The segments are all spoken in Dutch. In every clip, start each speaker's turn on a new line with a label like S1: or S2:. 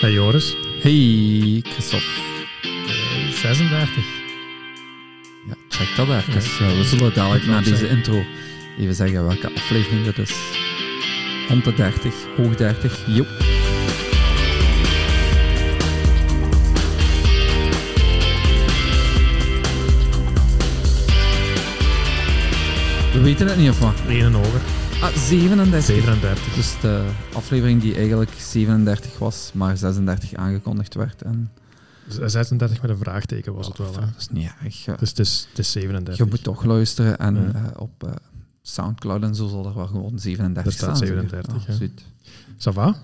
S1: Hey Joris,
S2: Hey, Christophe.
S1: 36.
S2: Ja, check dat even.
S1: Ja.
S2: Eh, we zullen dadelijk
S1: Moet
S2: na
S1: knap
S2: deze
S1: zijn.
S2: intro even zeggen welke aflevering dat is. Rond de 30, hoog 30, joep. We weten het niet of wat?
S1: 1 en hoger.
S2: Ah, 37.
S1: 37.
S2: Dus de aflevering die eigenlijk 37 was, maar 36 aangekondigd werd. En... Ah,
S1: Z- 36 met een vraagteken was het wel. Hè.
S2: Dat is niet erg. ja.
S1: Dus het is, het is 37.
S2: Je moet toch luisteren en
S1: Ja.
S2: eh, op eh, Soundcloud en zo zal er wel gewoon 37
S1: Er staat
S2: staan, zeker?
S1: 37,
S2: Ah,
S1: ja.
S2: zoet.
S1: Ça va?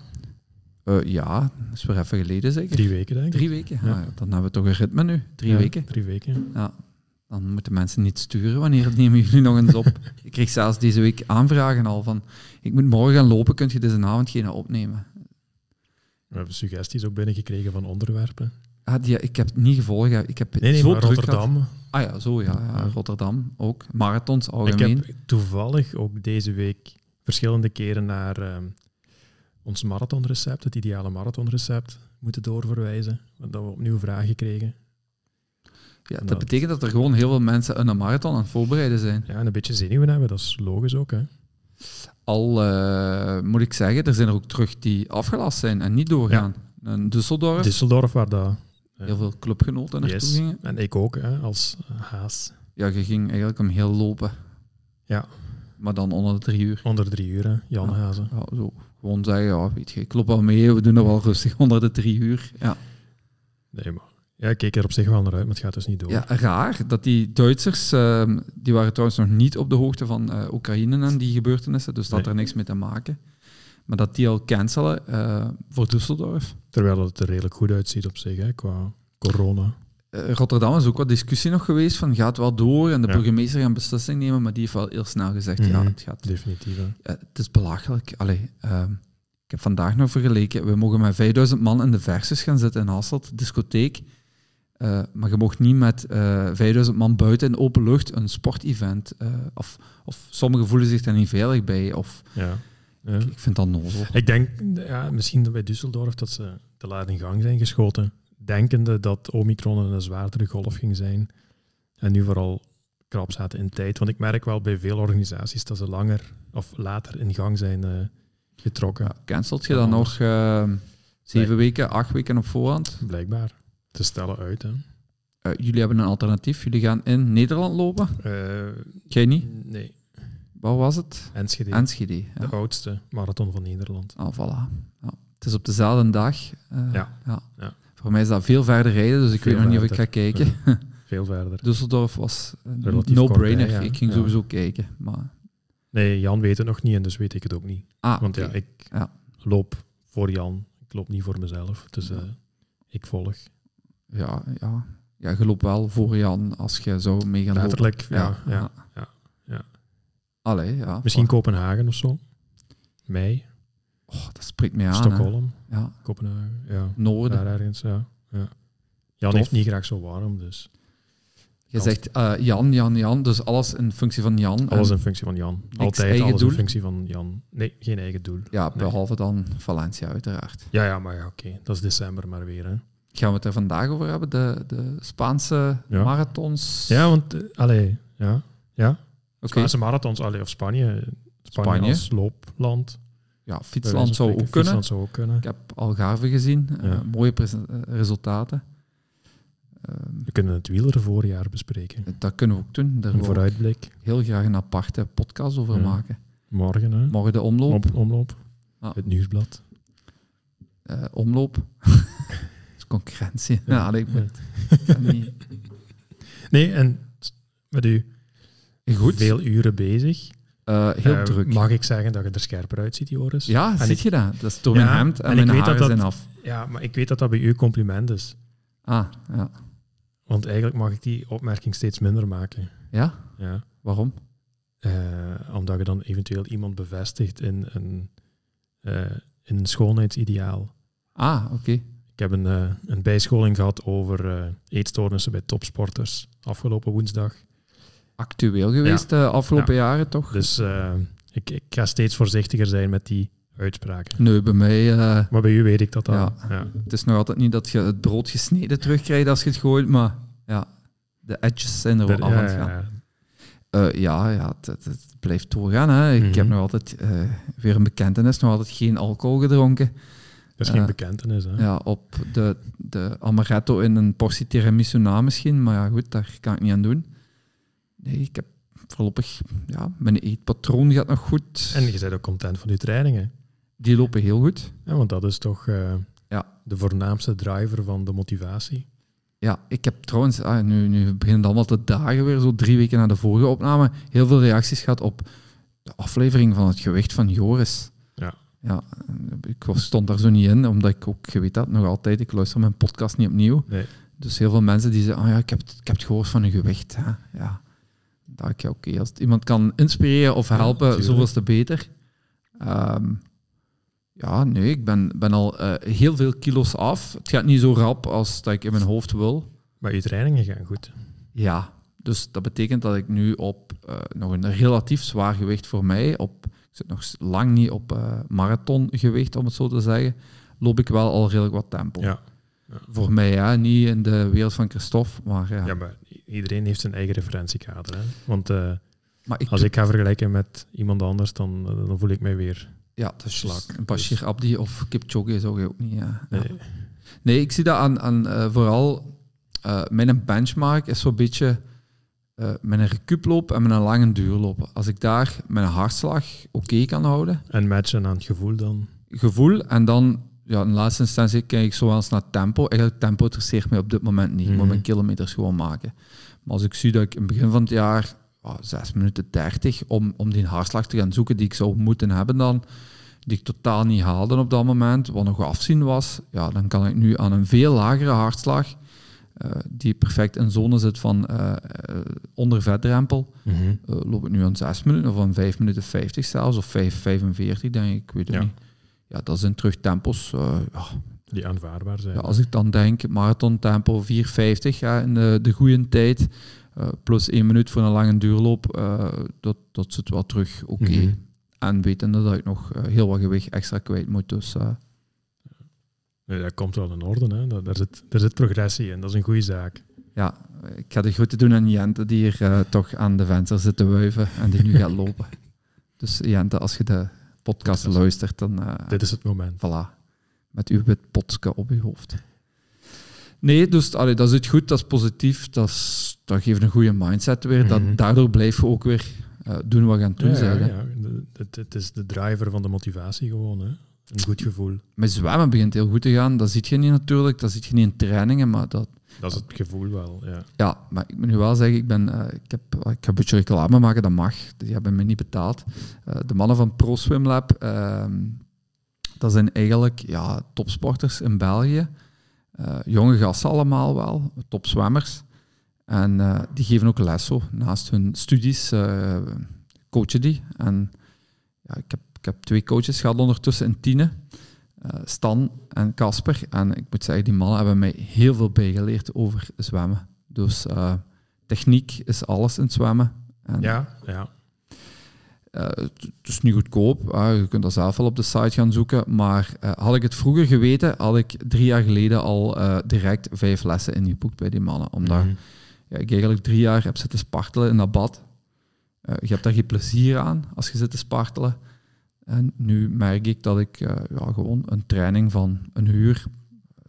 S2: Eh, ja, dat is weer even geleden zeker.
S1: Drie weken denk ik.
S2: Drie weken.
S1: Ja.
S2: Ah, dan hebben we toch een ritme nu. Drie
S1: Ja,
S2: weken.
S1: Drie weken.
S2: Ja. Dan moeten mensen niet sturen. Wanneer nemen jullie nog eens op? ik kreeg zelfs deze week aanvragen al van... Ik moet morgen gaan lopen, kun je deze avond geen opnemen?
S1: We hebben suggesties ook binnengekregen van onderwerpen.
S2: Ah, die, ik heb het niet gevolgd. hè. Ik heb het
S1: Nee, nee,
S2: zo
S1: maar
S2: druk gehad.
S1: Rotterdam.
S2: Ah ja, zo ja. ja,
S1: Ja.
S2: Rotterdam ook. Marathons
S1: Ik
S2: algemeen.
S1: heb toevallig ook deze week verschillende keren naar ehm, ons marathonrecept, het ideale marathonrecept, moeten doorverwijzen. Want dat we opnieuw vragen kregen.
S2: Ja, dat
S1: Nou.
S2: betekent dat er gewoon heel veel mensen een marathon aan het voorbereiden zijn.
S1: Ja, en een beetje zenuwen hebben, dat is logisch ook. Hè.
S2: Al eh, moet ik zeggen, er zijn er ook terug die afgelast zijn en niet doorgaan. In Düsseldorf,
S1: Düsseldorf, waar dat... eh,
S2: heel veel clubgenoten naartoe
S1: Dus- Yes.
S2: gingen.
S1: En ik ook, hè, als eh, haas.
S2: Ja, je ging eigenlijk om heel lopen.
S1: Ja.
S2: Maar dan onder de drie uur.
S1: Onder drie uur, hè, Jan
S2: Ja.
S1: Hazen.
S2: Ja, zo. Gewoon zeggen, ja, weet je, ik loop wel mee, we doen dat wel rustig onder de drie uur. Ja.
S1: Nee, maar... Ja, ik keek er op zich wel naar uit, maar het gaat dus niet door.
S2: Ja, raar dat die Duitsers, ehm, die waren trouwens nog niet op de hoogte van eh, Oekraïne en die gebeurtenissen, dus dat had
S1: Nee.
S2: er niks mee te maken. Maar dat die al cancelen eh, voor Düsseldorf.
S1: Terwijl het er redelijk goed uitziet op zich, hè, qua corona.
S2: Eh, Rotterdam is ook wat discussie nog geweest van gaat wel door en de
S1: Ja.
S2: burgemeester gaat een beslissing nemen, maar die heeft wel heel snel gezegd
S1: Mhm.
S2: ja, het gaat.
S1: Definitief. hè.
S2: eh, het is belachelijk. Allee, ehm, ik heb vandaag nog vergeleken, we mogen met 5000 man in de versus gaan zitten in Hasselt, discotheek, Eh, maar je mocht niet met eh 5000 man buiten in open lucht een sportevent, eh, of, of sommigen voelen zich daar niet veilig bij, of
S1: Ja. Ja.
S2: ik vind dat nozel.
S1: Ik denk, ja, misschien bij Düsseldorf, dat ze te laat in gang zijn geschoten. Denkende dat Omicron een zwaardere golf ging zijn. En nu vooral krap zaten in tijd. Want ik merk wel bij veel organisaties dat ze langer of later in gang zijn eh, getrokken.
S2: Ja, cancelt je dan
S1: Ja,
S2: nog ehm, zeven
S1: Nee.
S2: weken, acht weken op voorhand?
S1: Blijkbaar. Te stellen uit, hè.
S2: Eh, jullie hebben een alternatief. Jullie gaan in Nederland lopen.
S1: Eh,
S2: Jij niet?
S1: nee,
S2: Wat was het?
S1: Enschede.
S2: Enschede.
S1: De
S2: Ja.
S1: oudste marathon van Nederland.
S2: Ah, voilà. Ja. Het is op dezelfde dag. eh,
S1: Ja. Ja.
S2: Voor mij is dat veel verder rijden, dus ik
S1: Veel
S2: weet nog niet of ik ga
S1: verder.
S2: kijken.
S1: Veel verder.
S2: Düsseldorf was een
S1: Relatief
S2: no-brainer.
S1: kort, hè, ja.
S2: Ik ging
S1: Ja.
S2: sowieso kijken. Maar...
S1: Nee, Jan weet het nog niet en dus weet ik het ook niet.
S2: Ah,
S1: Want ja,
S2: oké.
S1: ik
S2: Ja.
S1: loop voor Jan. Ik loop niet voor mezelf. Dus
S2: Ja.
S1: eh, ik volg.
S2: ja, ja. ja, je loopt wel voor Jan als je zou mee gaan lopen.
S1: Letterlijk, ja. ja, ja, ja.
S2: Allee, ja.
S1: Misschien Kopenhagen of zo. Mei,
S2: Oh, dat spreekt mij aan. hè.
S1: Stockholm,
S2: Ja.
S1: Kopenhagen. Ja,
S2: Noorden.
S1: daar ergens, ja. ja. Jan
S2: Tof.
S1: heeft niet graag zo warm, dus
S2: Je zegt eh, Jan, Jan, Jan. Dus alles in functie van Jan. En-
S1: alles in functie van Jan. Altijd
S2: eigen
S1: alles
S2: doel?
S1: in functie van Jan. Nee, geen eigen doel.
S2: Ja,
S1: Nee.
S2: behalve dan Valencia uiteraard.
S1: Ja, ja, maar ja, oké. Dat is december maar weer, hè.
S2: Gaan we het er vandaag over hebben? De, de Spaanse
S1: Ja.
S2: marathons?
S1: Ja, want, eh, allee, ja. ja.
S2: Oké.
S1: Spaanse marathons, allee, of Spanje. Spanje,
S2: Spanje.
S1: als loopland. bij
S2: ja
S1: wijze
S2: Fietsland
S1: van
S2: zou ook
S1: spreken.
S2: kunnen.
S1: Fietsland zou ook kunnen.
S2: Ik heb Algarve gezien. eh,
S1: Ja.
S2: mooie presen- eh, resultaten. Ehm,
S1: We kunnen het wielervoorjaar bespreken.
S2: Eh, dat kunnen we ook doen. Daar
S1: Een
S2: wil ik
S1: vooruitblik.
S2: heel graag een aparte podcast over
S1: Ja.
S2: maken.
S1: Morgen, hè.
S2: Morgen de omloop.
S1: Op, omloop.
S2: Ah.
S1: Het nieuwsblad.
S2: eh, omloop. Dat is concurrentie. Ja,
S1: Ja.
S2: allee, ik moet- ik kan niet.
S1: Nee, en met u
S2: Goed.
S1: veel uren bezig.
S2: Eh, heel
S1: Eh,
S2: druk.
S1: Mag ik zeggen dat je er scherper uitziet, Joris?
S2: Ja,
S1: En
S2: ziet
S1: ik-
S2: je dat? Dat is door
S1: Ja,
S2: mijn hemd en,
S1: en ik
S2: mijn
S1: weet dat
S2: haren
S1: dat-
S2: zijn af.
S1: Ja, maar ik weet dat dat bij u compliment is.
S2: Ah, ja.
S1: Want eigenlijk mag ik die opmerking steeds minder maken.
S2: Ja?
S1: Ja.
S2: Waarom?
S1: Eh, omdat je dan eventueel iemand bevestigt in een, eh, in een schoonheidsideaal.
S2: Ah, oké.
S1: Ik heb een, eh, een bijscholing gehad over eh, eetstoornissen bij topsporters afgelopen woensdag.
S2: actueel geweest de eh, afgelopen jaren, toch?
S1: Dus eh, ik, ik ga steeds voorzichtiger zijn met die uitspraken.
S2: Nee, bij mij... eh,
S1: Maar bij u weet ik dat al.
S2: Ja.
S1: Ja.
S2: het is nog altijd niet dat je het brood gesneden terugkrijgt als je het gooit, maar ja, de edges zijn er wel
S1: Dat-
S2: af aan
S1: ja,
S2: het gaan.
S1: ja, ja.
S2: Eh, ja, ja het, het- het blijft doorgaan. Hè. Ik
S1: Mhm.
S2: heb nog altijd, eh, weer een bekentenis, nog altijd geen alcohol gedronken.
S1: Dat is
S2: Ja.
S1: geen bekentenis. Hè?
S2: Ja, op de, de amaretto in een portie tiramisu na misschien, maar ja, goed, daar kan ik niet aan doen. Nee, ik heb voorlopig, ja, mijn eetpatroon gaat nog goed.
S1: En je bent ook content van uw trainingen.
S2: Die lopen heel goed.
S1: Ja, want dat is toch eh,
S2: Ja.
S1: de voornaamste driver van de motivatie.
S2: Ja, ik heb trouwens, ah, nu, nu beginnen allemaal de dagen weer, zo drie weken na de vorige opname, heel veel reacties gehad op de aflevering van het gewicht van Joris.
S1: Ja.
S2: Ja, ik was- stond daar zo niet in, omdat ik ook, je weet dat nog altijd, ik luister mijn podcast niet opnieuw.
S1: Nee.
S2: Dus heel veel mensen die zeggen, ah ja, ik heb, het- ik heb het gehoord van een gewicht. Hè. Ja, dat ik, ja, oké, als het iemand kan inspireren of
S1: Ja,
S2: helpen,
S1: tuurlijk.
S2: zoveel is te beter. Ehm, ja, nee, ik ben, ben al eh, heel veel kilo's af. Het gaat niet zo rap als dat ik in mijn hoofd wil.
S1: Maar uw trainingen gaan goed.
S2: Ja, dus dat betekent dat ik nu op eh, nog een relatief zwaar gewicht voor mij, op, ik zit nog s- lang niet op eh, marathongewicht om het zo te zeggen, loop ik wel al redelijk wat tempo.
S1: Ja.
S2: Voor mij, ja, niet in de wereld van Christophe, maar eh, ja.
S1: Ja. maar i- iedereen heeft zijn eigen referentiekader. Hè? Want eh,
S2: maar
S1: als ik ga vergelijken met iemand anders, dan, eh, dan voel ik mij weer...
S2: ja, dat is
S1: slak,
S2: juist. Bashir
S1: dus-
S2: Abdi of Kipchoge zou je ook niet. eh, ja. Ja.
S1: Nee,
S2: Nee, ik zie dat aan, aan eh, vooral eh, mijn benchmark is zo'n beetje eh, mijn recuuploop en mijn lange duurloop. Als ik daar mijn hartslag oké kan houden,
S1: En matchen aan het gevoel dan.
S2: gevoel, en dan ja, in laatste instantie kijk ik zo wel eens naar tempo. Eigenlijk tempo interesseert mij op dit moment niet. Ik moet
S1: Mhm.
S2: mijn kilometers gewoon maken. Maar als ik zie dat ik in het begin van het jaar ah, 6 minuten 30 om, om die hartslag te gaan zoeken die ik zou moeten hebben dan, die ik totaal niet haalde op dat moment, wat nog afzien was, ja, dan kan ik nu aan een veel lagere hartslag, eh, die perfect in zone zit van eh, eh, onder vetdrempel, eh, loop ik nu aan 6 minuten of aan 5 minuten 50 zelfs, of 5, 45 denk ik, ik weet het
S1: Ja.
S2: niet. Ja, dat zijn terugtempos. eh ja.
S1: Die aanvaardbaar zijn.
S2: Ja, als ik dan denk, marathontempo 4,50 ja, in de, de goede tijd, eh, plus 1 minuut voor een lange duurloop, eh, dat, dat zit wel terug oké.
S1: Mhm.
S2: En wetende dat ik nog eh, heel wat gewicht extra kwijt moet, dus eh,
S1: Nee, dat komt wel in orde. Hè? Dat, daar, zit, daar zit progressie in. Dat is een goede zaak.
S2: ja, ik ga de groeten doen aan Jente, die hier eh, toch aan de venster zit te wuiven en die nu gaat lopen. Dus Jente, als je de podcast luistert, dan... eh,
S1: Dit is het moment.
S2: Voilà. Met uw wit potske op uw hoofd. Nee, dus allee, dat zit goed, dat is positief, dat, is, dat geeft een goede mindset weer.
S1: Mhm.
S2: Dat, daardoor blijf je ook weer eh, doen wat je aan het doen
S1: Ja,
S2: bent,
S1: ja,
S2: hè.
S1: ja. De- Het, het is de driver van de motivatie gewoon. Hè? Een goed gevoel.
S2: Mijn zwemmen begint heel goed te gaan, dat ziet je niet natuurlijk, dat ziet je niet in trainingen, maar dat...
S1: Dat is het gevoel wel, ja.
S2: Ja, maar ik moet nu wel zeggen, ik, ben, eh, ik, heb, ik ga een beetje reclame maken, dat mag. Die hebben me niet betaald. Eh, de mannen van ProSwimLab, ehm dat zijn eigenlijk ja, topsporters in België. Eh, jonge gasten allemaal wel, topzwemmers. En eh, die geven ook les zo. Naast hun studies eh, coachen die. En ja, ik, heb, ik heb twee coaches gehad ondertussen in Tiene. eh, Stan en Casper. En ik moet zeggen, die mannen hebben mij heel veel bijgeleerd over zwemmen. Dus eh, techniek is alles in het zwemmen. En,
S1: Ja, Mhm. ja.
S2: eh, het het is niet goedkoop, eh, je kunt dat zelf wel op de site gaan zoeken. Maar eh, had ik het vroeger geweten, had ik drie jaar geleden al eh, direct vijf lessen ingeboekt bij die mannen. Omdat
S1: Mhm.
S2: ja, ik eigenlijk drie jaar heb zitten spartelen in dat bad. Eh, je hebt daar geen plezier aan als je zit te spartelen. En nu merk ik dat ik eh, ja, gewoon een training van een uur,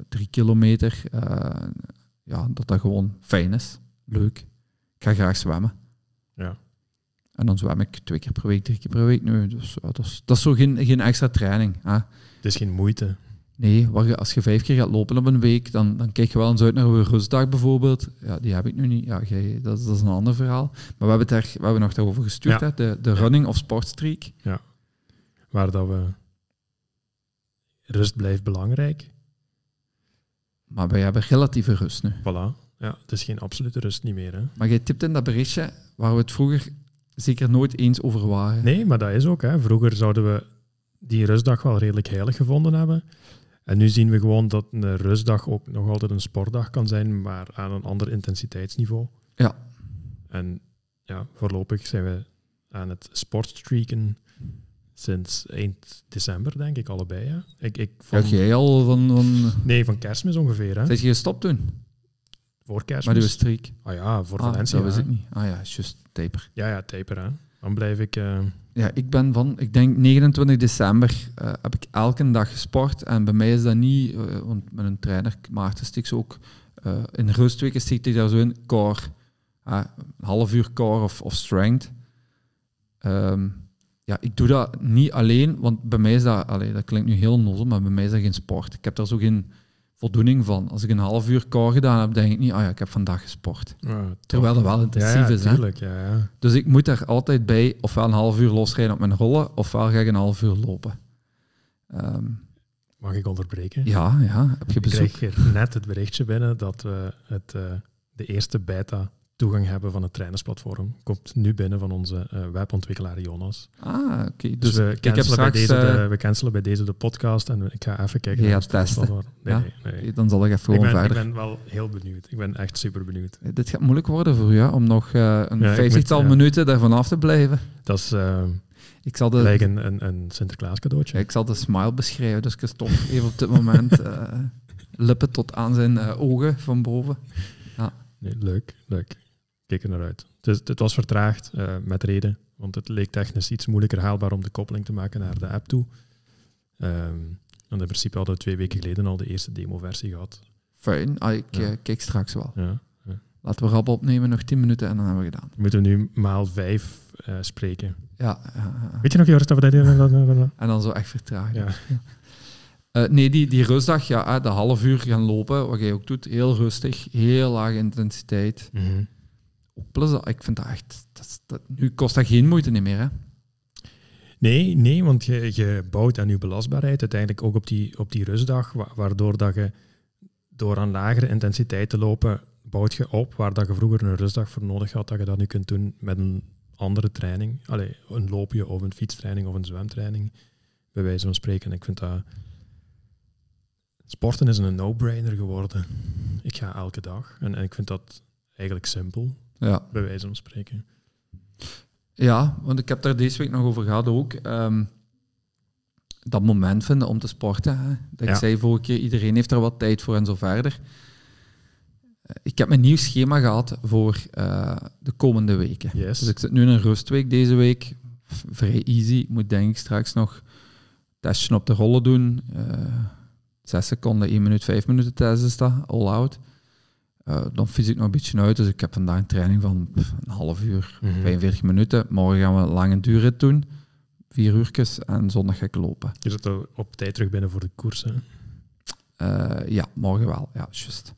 S2: drie kilometer, eh, ja, dat dat gewoon fijn is. Leuk. Ik ga graag zwemmen.
S1: Ja.
S2: En dan zwem ik twee keer per week, drie keer per week nu. Dus ja, dat, is, dat is zo geen, geen extra training. Hè?
S1: Het is geen moeite.
S2: Nee, waar je, als je vijf keer gaat lopen op een week, dan, dan kijk je wel eens uit naar een rustdag bijvoorbeeld. Ja, die heb ik nu niet. Ja, jij- dat, is- dat is een ander verhaal. Maar we hebben het daar, we hebben nog daarover gestuurd,
S1: Ja.
S2: hè? De, de running of sportstreak.
S1: Waar dat we... Rust blijft belangrijk.
S2: Maar wij hebben relatieve rust nu.
S1: Voilà. Ja, het is geen absolute rust niet meer, hè.
S2: Maar jij tipt in dat berichtje waar we het vroeger zeker nooit eens over waren.
S1: Nee, maar dat is ook. Hè. Vroeger zouden we die rustdag wel redelijk heilig gevonden hebben. En nu zien we gewoon dat een rustdag ook nog altijd een sportdag kan zijn, maar aan een ander intensiteitsniveau.
S2: Ja.
S1: En ja, voorlopig zijn we aan het sportstreaken. Sinds eind december, denk ik, allebei. Ja. Ik, ik
S2: Had
S1: van,
S2: jij al van... van...
S1: nee, van kerstmis ongeveer. Hè.
S2: Zijn je gestopt toen?
S1: Voor
S2: Maar
S1: kerstmis.
S2: uw streak.
S1: Ah ja, voor
S2: Ah,
S1: Valencia.
S2: dat was
S1: hè.
S2: ik niet. Ah ja, just taper.
S1: Ja, ja, taper. Hè. Dan blijf ik... eh,
S2: Ja, ik ben van, ik denk 29 december eh, heb ik elke dag gesport. En bij mij is dat niet, eh, want met een trainer, Maarten Stiks ook, eh, in rustweken steekt hij daar zo in, core. Ah, een half uur core of, of strength. Ehm, ja, ik doe dat niet alleen, want bij mij is dat, allee, dat klinkt nu heel nozel, maar bij mij is dat geen sport. Ik heb daar zo geen voldoening van. Als ik een half uur core gedaan heb, denk ik niet, ah ja, ik heb vandaag gesport.
S1: ja, toch.
S2: Terwijl dat wel intensief
S1: ja, ja,
S2: is, hè?
S1: tuurlijk, ja, ja.
S2: Dus ik moet daar altijd bij ofwel een half uur losrijden op mijn rollen, ofwel ga ik een half uur lopen. Ehm,
S1: Mag ik onderbreken?
S2: ja, ja, heb je
S1: Ik
S2: bezoek.
S1: kreeg hier net het berichtje binnen dat we het, eh, de eerste beta toegang hebben van het trainersplatform. Komt nu binnen van onze eh, webontwikkelaar Jonas.
S2: Ah, oké.
S1: Dus,
S2: Dus
S1: we,
S2: heb
S1: cancelen bij
S2: straks,
S1: deze de,
S2: eh,
S1: we cancelen bij deze de podcast en ik ga even kijken.
S2: Je
S1: naar
S2: gaat
S1: ons trainersplatform. Nee,
S2: Ja?
S1: nee, nee.
S2: dan zal ik even
S1: Ik,
S2: gewoon
S1: ben, ik
S2: verder.
S1: ben wel heel benieuwd. Ik ben echt super benieuwd.
S2: Dit gaat moeilijk worden voor u, hè, om nog eh, een
S1: Ja, ik
S2: vijftigtal
S1: moet, ja.
S2: minuten daarvan af te blijven.
S1: Dat is eh
S2: Ik zal de,
S1: gelijk een, een, een Sinterklaas cadeautje.
S2: ja, ik zal de smile beschrijven, dus ik stop even op dit moment. eh, lippen tot aan zijn eh, ogen van boven.
S1: Nee, leuk, leuk. Kijk er naar uit. Het, is- het was vertraagd, eh, met reden. Want het leek technisch iets moeilijker haalbaar om de koppeling te maken naar de app toe. Ehm want in principe hadden we twee weken geleden al de eerste demo-versie gehad.
S2: Fijn, ah, ik
S1: Ja.
S2: eh, kijk straks wel.
S1: Ja.
S2: Laten we rap opnemen, nog tien minuten en dan hebben we gedaan.
S1: Moeten we nu maal vijf eh, spreken.
S2: Ja, ja, ja.
S1: Weet je nog, Joris, dat we dat deden?
S2: En dan zo echt vertragen.
S1: Ja.
S2: Eh, nee, die, die rustdag, ja, hè, de half uur gaan lopen, wat jij ook doet, heel rustig, heel lage intensiteit.
S1: Mhm.
S2: Ook plezant. Ik vind dat echt, dat, is- dat- nu kost dat geen moeite niet meer. Hè?
S1: Nee, nee, want je, je bouwt aan je belastbaarheid uiteindelijk ook op die, op die rustdag, wa- waardoor dat je door aan lagere intensiteit te lopen, bouwt je op waar dat je vroeger een rustdag voor nodig had, dat je dat nu kunt doen met een andere training. Allee, een loopje of een fietstraining of een zwemtraining, bij wijze van spreken. Ik vind dat... Sporten is een no-brainer geworden. Ik ga elke dag en, en ik vind dat eigenlijk simpel,
S2: Ja.
S1: bij wijze van spreken.
S2: ja, want ik heb daar deze week nog over gehad ook. ehm, dat moment vinden om te sporten. Hè? Dat ik
S1: Ja.
S2: zei vorige keer, iedereen heeft er wat tijd voor en zo verder. Eh, Ik heb mijn nieuw schema gehad voor eh, de komende weken.
S1: Yes.
S2: Dus ik zit nu in een rustweek deze week. V- Vrij easy. Ik moet denk ik straks nog testje op de rollen doen. Eh, Zes seconden, één minuut, vijf minuten test is dat. All out. Eh, dan fiets ik nog een beetje uit. Dus ik heb vandaag een training van pff, een half uur,
S1: Mhm.
S2: 45 minuten. Morgen gaan we een lange duurrit doen. Vier uurtjes. En zondag ga ik lopen.
S1: Je zit er op tijd terug binnen voor de koersen.
S2: Eh, ja, morgen wel. Ja, juist.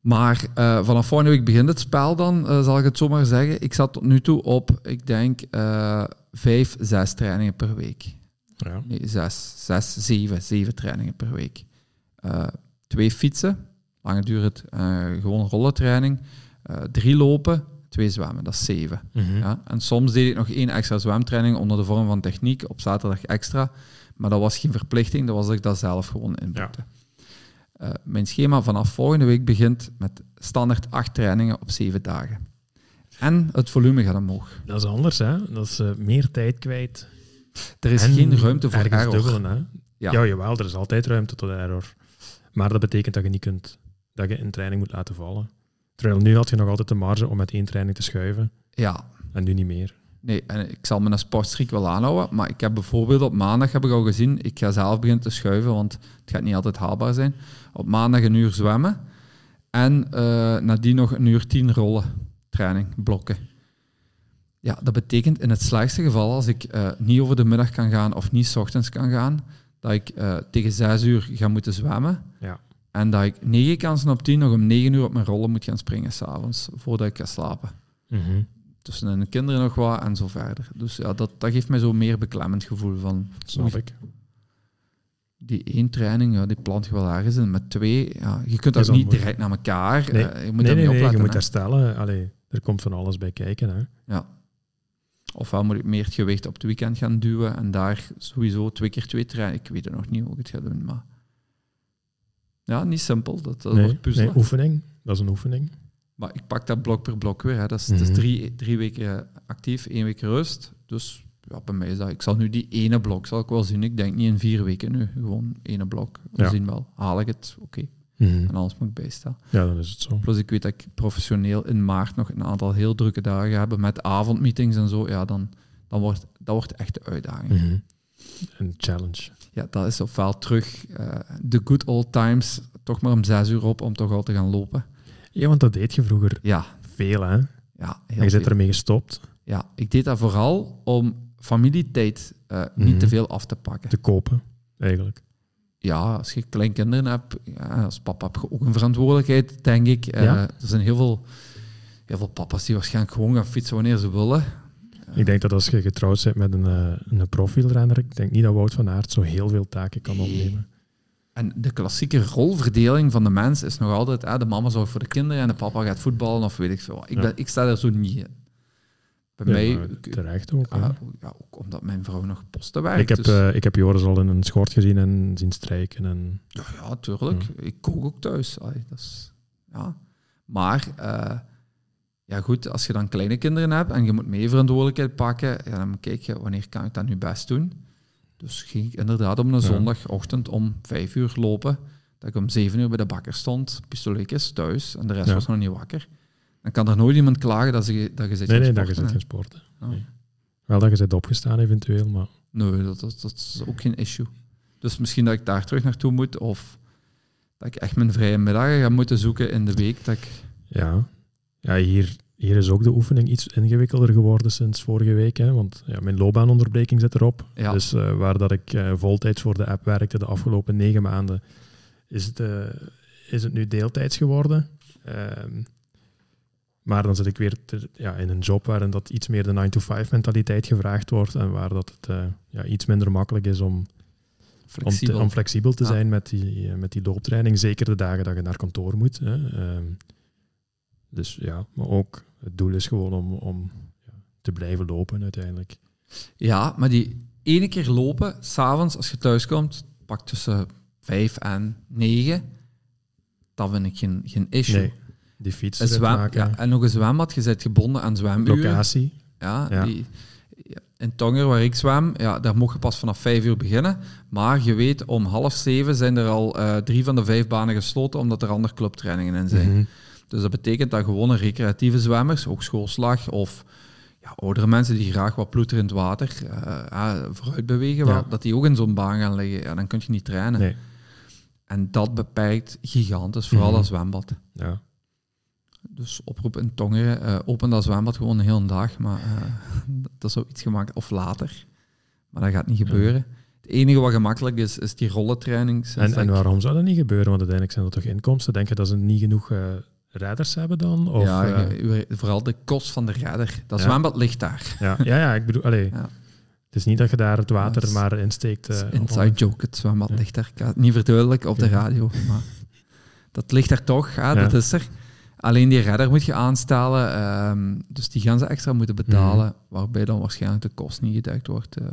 S2: Maar eh, vanaf volgende week begint het spel dan, eh, zal ik het zo maar zeggen. Ik zat tot nu toe op, ik denk, eh, vijf, zes trainingen per week.
S1: Ja.
S2: Nee, zes, zes, zeven, zeven trainingen per week. Eh, twee fietsen, lange duurt het, eh, gewoon rollentraining. Eh, drie lopen, twee zwemmen, dat is zeven.
S1: Mhm.
S2: Ja, en soms deed ik nog één extra zwemtraining onder de vorm van techniek op zaterdag extra. Maar dat was geen verplichting, dat was dat ik dat zelf gewoon inboekte. Eh, mijn schema vanaf volgende week begint met standaard acht trainingen op zeven dagen. En het volume gaat omhoog.
S1: Dat is anders, hè? Dat is eh, meer tijd kwijt.
S2: Er is
S1: En
S2: geen ruimte voor
S1: ergens
S2: error.
S1: dubbelen, hè?
S2: Ja.
S1: Ja. jawel, er is altijd ruimte tot error. Maar dat betekent dat je niet kunt, dat je een training moet laten vallen. Terwijl nu had je nog altijd de marge om met één training te schuiven,
S2: Ja,
S1: en nu niet meer.
S2: nee, en ik zal mijn sportstreek wel aanhouden. Maar ik heb bijvoorbeeld op maandag, heb ik al gezien, ik ga zelf beginnen te schuiven, want het gaat niet altijd haalbaar zijn. Op maandag een uur zwemmen. En eh, nadien nog een uur tien rollen, training, blokken. Ja, dat betekent in het slechtste geval, als ik eh, niet over de middag kan gaan of niet 's ochtends kan gaan, dat ik eh, tegen zes uur ga moeten zwemmen.
S1: Ja.
S2: En dat ik negen kansen op tien nog om negen uur op mijn rollen moet gaan springen s'avonds, voordat ik ga slapen
S1: Mhm.
S2: tussen hun kinderen nog wat en zo verder. Dus ja, dat, dat geeft mij zo meer beklemmend gevoel van
S1: Snap
S2: Oei.
S1: ik.
S2: die één training, ja, die plant je wel ergens in. Met twee, ja, je kunt dat
S1: Is al
S2: niet
S1: moeilijk.
S2: direct naar elkaar.
S1: Nee.
S2: eh, je moet
S1: nee, nee,
S2: daar niet
S1: nee, je
S2: opletten.
S1: moet
S2: hè.
S1: herstellen. Allee, er komt van alles bij kijken, hè?
S2: Ofwel moet ik meer het gewicht op het weekend gaan duwen en daar sowieso twee keer twee trainen. Ik weet het nog niet hoe ik het ga doen, maar... Ja, niet simpel. Dat, dat
S1: nee,
S2: wordt puzzelen.
S1: nee, oefening. Dat is een oefening.
S2: Maar ik pak dat blok per blok weer. Hè. Dat is, het is
S1: Mhm.
S2: drie, drie weken actief, één week rust. Dus ja, bij mij is dat... Ik zal nu die ene blok, zal ik wel zien. Ik denk niet in vier weken nu. Gewoon ene blok. We
S1: Ja.
S2: zien wel. Haal ik het? Oké.
S1: Mhm.
S2: En anders moet ik bijstellen.
S1: Ja, dan is het zo.
S2: Plus ik weet dat ik professioneel in maart nog een aantal heel drukke dagen heb met avondmeetings en zo. Ja, dan, dan wordt dat wordt echt de uitdaging.
S1: Mhm. Een challenge.
S2: Ja, dat is ofwel terug eh, de good old times, toch maar om zes uur op om toch al te gaan lopen.
S1: Ja, want dat deed je vroeger
S2: Ja,
S1: veel, hè? En
S2: ja,
S1: je
S2: heel
S1: bent
S2: veel.
S1: ermee gestopt.
S2: ja ik deed dat vooral om familietijd eh, niet
S1: Mhm.
S2: te veel af te pakken.
S1: Te kopen, eigenlijk.
S2: Ja, als je kleinkinderen hebt, ja, als papa heb je ook een verantwoordelijkheid, denk ik. Eh,
S1: Ja.
S2: Er zijn heel veel, heel veel papa's die waarschijnlijk gewoon gaan fietsen wanneer ze willen.
S1: Ik denk dat als je getrouwd bent met een, eh, een profielrenner, ik denk niet dat Wout van Aert zo heel veel taken kan
S2: Nee.
S1: opnemen.
S2: En de klassieke rolverdeling van de mens is nog altijd: hè, de mama zorgt voor de kinderen en de papa gaat voetballen of weet ik veel. wat. Ik,
S1: Ja.
S2: ben, ik sta daar zo niet in. Bij
S1: Ja,
S2: mij,
S1: maar
S2: ik-
S1: terecht ook. hè.
S2: ah, ja, ook omdat mijn vrouw nog posten werkt.
S1: ik, heb,
S2: dus,
S1: eh, ik heb Joris al in een schort gezien en zien strijken. En,
S2: ja, ja, tuurlijk.
S1: Mm.
S2: Ik kook ook thuis. Allee, dat is, ja. Maar eh, ja, goed, als je dan kleine kinderen hebt en je moet mee verantwoordelijkheid pakken, ja, dan kijk je wanneer kan ik dat nu best doen. Dus ging ik inderdaad op een zondagochtend om vijf uur lopen. Dat ik om zeven uur bij de bakker stond, pistoletjes thuis en de rest
S1: Ja.
S2: was nog niet wakker. Dan kan er nooit iemand klagen dat, ze, dat je zit
S1: nee,
S2: gaan
S1: nee, dat je
S2: sporten,
S1: zit
S2: hè.
S1: geen sporten.
S2: Ja.
S1: nee. Wel dat je zit opgestaan eventueel, maar
S2: Nee, dat, dat, dat is ook geen issue. Dus misschien dat ik daar terug naartoe moet of dat ik echt mijn vrije middagen ga moeten zoeken in de week. Dat ik,
S1: ja. ja hier, hier is ook de oefening iets ingewikkelder geworden sinds vorige week. Hè, want ja, mijn loopbaanonderbreking zit erop.
S2: ja,
S1: Dus eh, waar dat ik eh, voltijds voor de app werkte de afgelopen negen maanden, is het, eh, is het nu deeltijds geworden. Ehm, maar dan zit ik weer te- ja, in een job waarin dat iets meer de 9-to-5 mentaliteit gevraagd wordt en waar dat het eh, ja, iets minder makkelijk is om om, te-
S2: flexibel.
S1: om flexibel te
S2: Ja.
S1: zijn met die, eh, met die looptraining. Zeker de dagen dat je naar kantoor moet. Hè. Ehm, dus ja, maar ook het doel is gewoon om, om ja, te blijven lopen uiteindelijk.
S2: ja, maar die ene keer lopen, s'avonds als je thuiskomt, pak tussen vijf en negen, dat vind ik geen, geen issue.
S1: Nee, die fiets
S2: Een
S1: erin
S2: zwem-
S1: maken,
S2: ja, en nog een zwembad, je bent gebonden aan zwemuren.
S1: locatie.
S2: Ja,
S1: Ja.
S2: Die, ja, in Tonger, waar ik zwem, ja, daar mocht je pas vanaf vijf uur beginnen. Maar je weet, om half zeven zijn er al eh, drie van de vijf banen gesloten, omdat er andere clubtrainingen in zijn.
S1: Mhm.
S2: Dus dat betekent dat gewone recreatieve zwemmers, ook schoolslag of ja, oudere mensen die graag wat ploeteren in het water, eh, ja, vooruit bewegen,
S1: Ja.
S2: wel, dat die ook in zo'n baan gaan liggen. Ja, dan kun je niet trainen.
S1: Nee.
S2: En dat beperkt gigantisch, vooral
S1: Mhm.
S2: dat zwembad.
S1: Ja.
S2: Dus oproep in Tongeren, eh, open dat zwembad gewoon een hele dag, maar eh, dat is ook iets gemaakt, of later. Maar dat gaat niet gebeuren. Het enige wat gemakkelijk is, is die rollentraining.
S1: En, en waarom zou dat niet gebeuren? Want uiteindelijk zijn dat toch inkomsten. Denk je dat ze niet genoeg eh redders hebben dan? Of,
S2: ja,
S1: eh,
S2: je- je- vooral de kost van de redder. Dat
S1: Ja.
S2: zwembad ligt daar.
S1: ja, ja, ja, ik bedoel, allee,
S2: Ja.
S1: het is niet dat je daar het water
S2: Dat is-
S1: maar insteekt.
S2: Dat is
S1: eh,
S2: inside joke, het zwembad ligt daar. Ik ga het niet verduidelijken op de
S1: Ja.
S2: radio, maar dat ligt daar toch, hè, dat
S1: Ja.
S2: is er. Alleen die redder moet je aanstellen, ehm, dus die gaan ze extra moeten
S1: Mhm.
S2: betalen, waarbij dan waarschijnlijk de kost niet geduikt wordt. eh.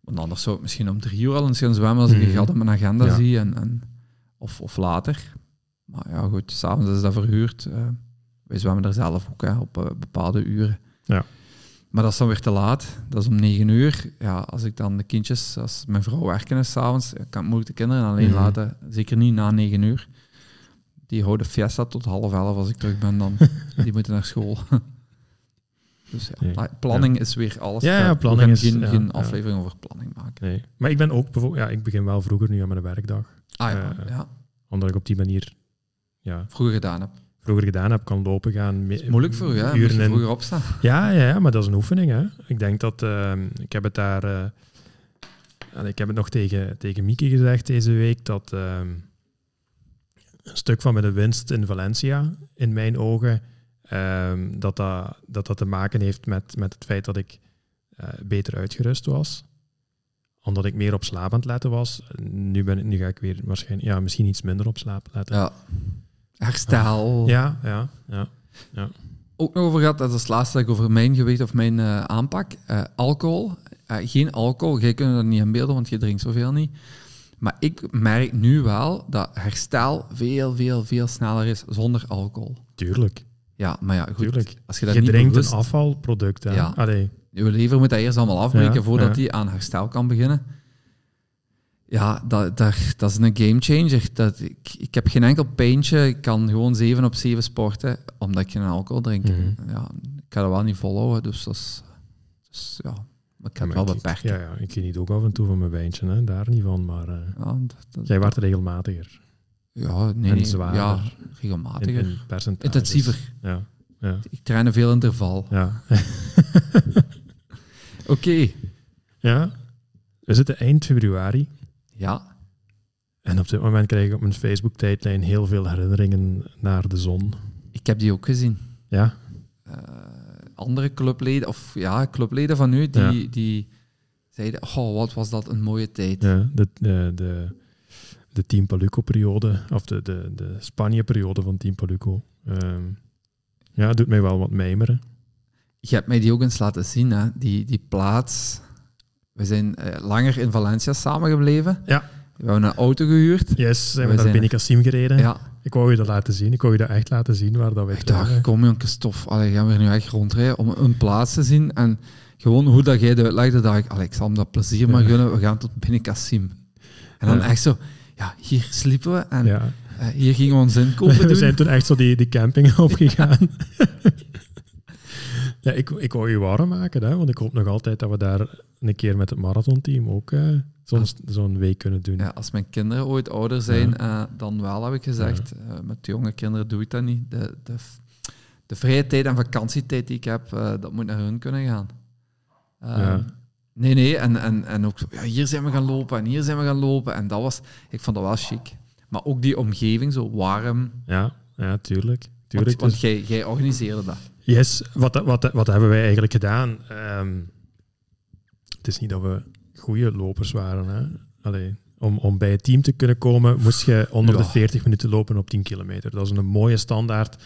S2: Want anders zou ik misschien om drie uur al eens gaan zwemmen als ik
S1: Mhm.
S2: een gat op mijn agenda
S1: Ja.
S2: zie, en, en, of, of later. Maar ja goed, s'avonds is dat verhuurd. eh. wij zwemmen er zelf ook hè, op eh, bepaalde uren.
S1: Ja.
S2: Maar dat is dan weer te laat. Dat is om negen uur. Ja, als ik dan de kindjes, als mijn vrouw werken is s'avonds, eh, kan ik moeilijk de kinderen alleen
S1: Mhm.
S2: laten. Zeker niet na negen uur. Die houden fiesta tot half elf als ik terug ben dan. Die moeten naar school. dus ja,
S1: Nee,
S2: maar planning is weer alles.
S1: Ja,
S2: We
S1: ja,
S2: gaan- we
S1: planning
S2: gaan
S1: is-
S2: Geen,
S1: ja,
S2: geen
S1: ja.
S2: aflevering over planning maken.
S1: Nee. Maar ik ben ook bijvoorbeeld, ja, ik begin wel vroeger nu aan mijn werkdag.
S2: Ah ja,
S1: Eh,
S2: ja.
S1: Omdat ik op die manier ja,
S2: vroeger gedaan heb.
S1: vroeger gedaan heb, kan lopen gaan. me-
S2: Moeilijk voor u, hè? Moet
S1: Uren
S2: je
S1: in.
S2: vroeger opstaan.
S1: Ja, ja, ja, maar dat is een oefening. Hè. Ik denk dat ehm, ik heb het daar. eh, en ik heb het nog tegen, tegen Mieke gezegd deze week dat ehm, een stuk van mijn winst in Valencia, in mijn ogen, ehm, dat, dat, dat dat te maken heeft met, met het feit dat ik eh, beter uitgerust was omdat ik meer op slaap aan het letten was. Nu, ben ik, nu ga ik weer waarschijnlijk, ja, misschien iets minder op slaap letten.
S2: Ja. Herstel.
S1: ja, ja. ja.
S2: ook nog over gehad, dat is het laatste dat ik over mijn gewicht of mijn eh, aanpak. Eh, alcohol. Eh, geen alcohol, jij kunt dat niet inbeelden, want je drinkt zoveel niet. Maar ik merk nu wel dat herstel veel, veel, veel sneller is zonder alcohol.
S1: tuurlijk.
S2: Ja, maar ja, goed.
S1: Tuurlijk.
S2: Als je
S1: Je,
S2: dat niet
S1: drinkt
S2: bewust...
S1: een afvalproduct. Hè?
S2: Ja.
S1: Allee,
S2: Je lever moet dat eerst allemaal afbreken
S1: Ja,
S2: voordat
S1: ja.
S2: die aan herstel kan beginnen. Ja, dat, dat, dat is een gamechanger. Dat, ik, ik heb geen enkel pijntje. Ik kan gewoon 7 op 7 sporten, omdat ik geen alcohol drink.
S1: Mhm.
S2: Ja, ik kan dat wel niet volhouden, dus dat is... dus ja, maar ik heb
S1: Maar
S2: wel beperkt. Ja.
S1: Ja, ja, ik geniet ook af en toe van mijn wijntje, hè. daar niet van. Maar eh,
S2: dat- dat-
S1: jij werd regelmatiger.
S2: ja, nee,
S1: en
S2: nee,
S1: zwaarder.
S2: Ja,
S1: In, dus-
S2: regelmatiger.
S1: in percentages.
S2: Intensiever.
S1: Ja. Ja.
S2: Ik train veel interval.
S1: ja.
S2: Oké.
S1: ja. We zitten eind februari.
S2: Ja,
S1: En op dit moment krijg ik op mijn Facebook-tijdlijn heel veel herinneringen naar de zon.
S2: ik heb die ook gezien.
S1: Ja,
S2: eh, andere clubleden, of ja, clubleden van nu, die, die zeiden, oh, wat was dat een mooie tijd.
S1: de, de, de, de, de Team Paluco-periode, of de, de, de Spanje-periode van Team Paluco. Ehm, ja, het doet mij wel wat mijmeren.
S2: Je hebt mij die ook eens laten zien, hè? Die, die plaats. We zijn eh, langer in Valencia samengebleven.
S1: Ja.
S2: We hebben een auto gehuurd.
S1: Yes, zijn we,
S2: We
S1: naar
S2: zijn
S1: Benicassim gereden.
S2: Ja,
S1: Ik wou je dat laten zien. Ik wou je dat echt laten zien waar dat wij
S2: ik dacht,
S1: trainen.
S2: kom jongen, stof. Allee, gaan we hier nu echt rondrijden om een plaats te zien. En gewoon hoe dat jij dat uitlegde, dacht ik, allee, ik zal hem dat plezier maar
S1: Ja.
S2: gunnen. We gaan tot binnen Cassim. En dan
S1: Ja.
S2: echt zo, ja, hier sliepen we en
S1: Ja.
S2: eh, hier gingen we ons inkopen doen.
S1: We zijn toen echt zo die, die camping opgegaan. ja, ik, ik wou je warm maken, hè, want ik hoop nog altijd dat we daar een keer met het marathonteam ook eh, soms zo'n week kunnen doen.
S2: Ah. Ja, als mijn kinderen ooit ouder zijn, eh, dan wel, heb ik gezegd. Eh, met jonge kinderen doe ik dat niet. De, de, v- de vrije tijd en vakantietijd die ik heb, eh, dat moet naar hun kunnen gaan. Eh,
S1: Ja.
S2: Nee, nee, en, en, en ook zo, ja, hier zijn we gaan lopen en hier zijn we gaan lopen. En dat was, ik vond dat wel chic. Maar ook die omgeving, zo warm.
S1: Ja, ja tuurlijk.
S2: Want,
S1: tuurlijk
S2: want
S1: Dus-
S2: jij, jij organiseerde dat.
S1: yes, wat, wat, wat hebben wij eigenlijk gedaan? Ehm, het is niet dat we goede lopers waren. Hè? Allee, om, om bij het team te kunnen komen, moest je onder
S2: Ja.
S1: de 40 minuten lopen op 10 kilometer. Dat is een mooie standaard.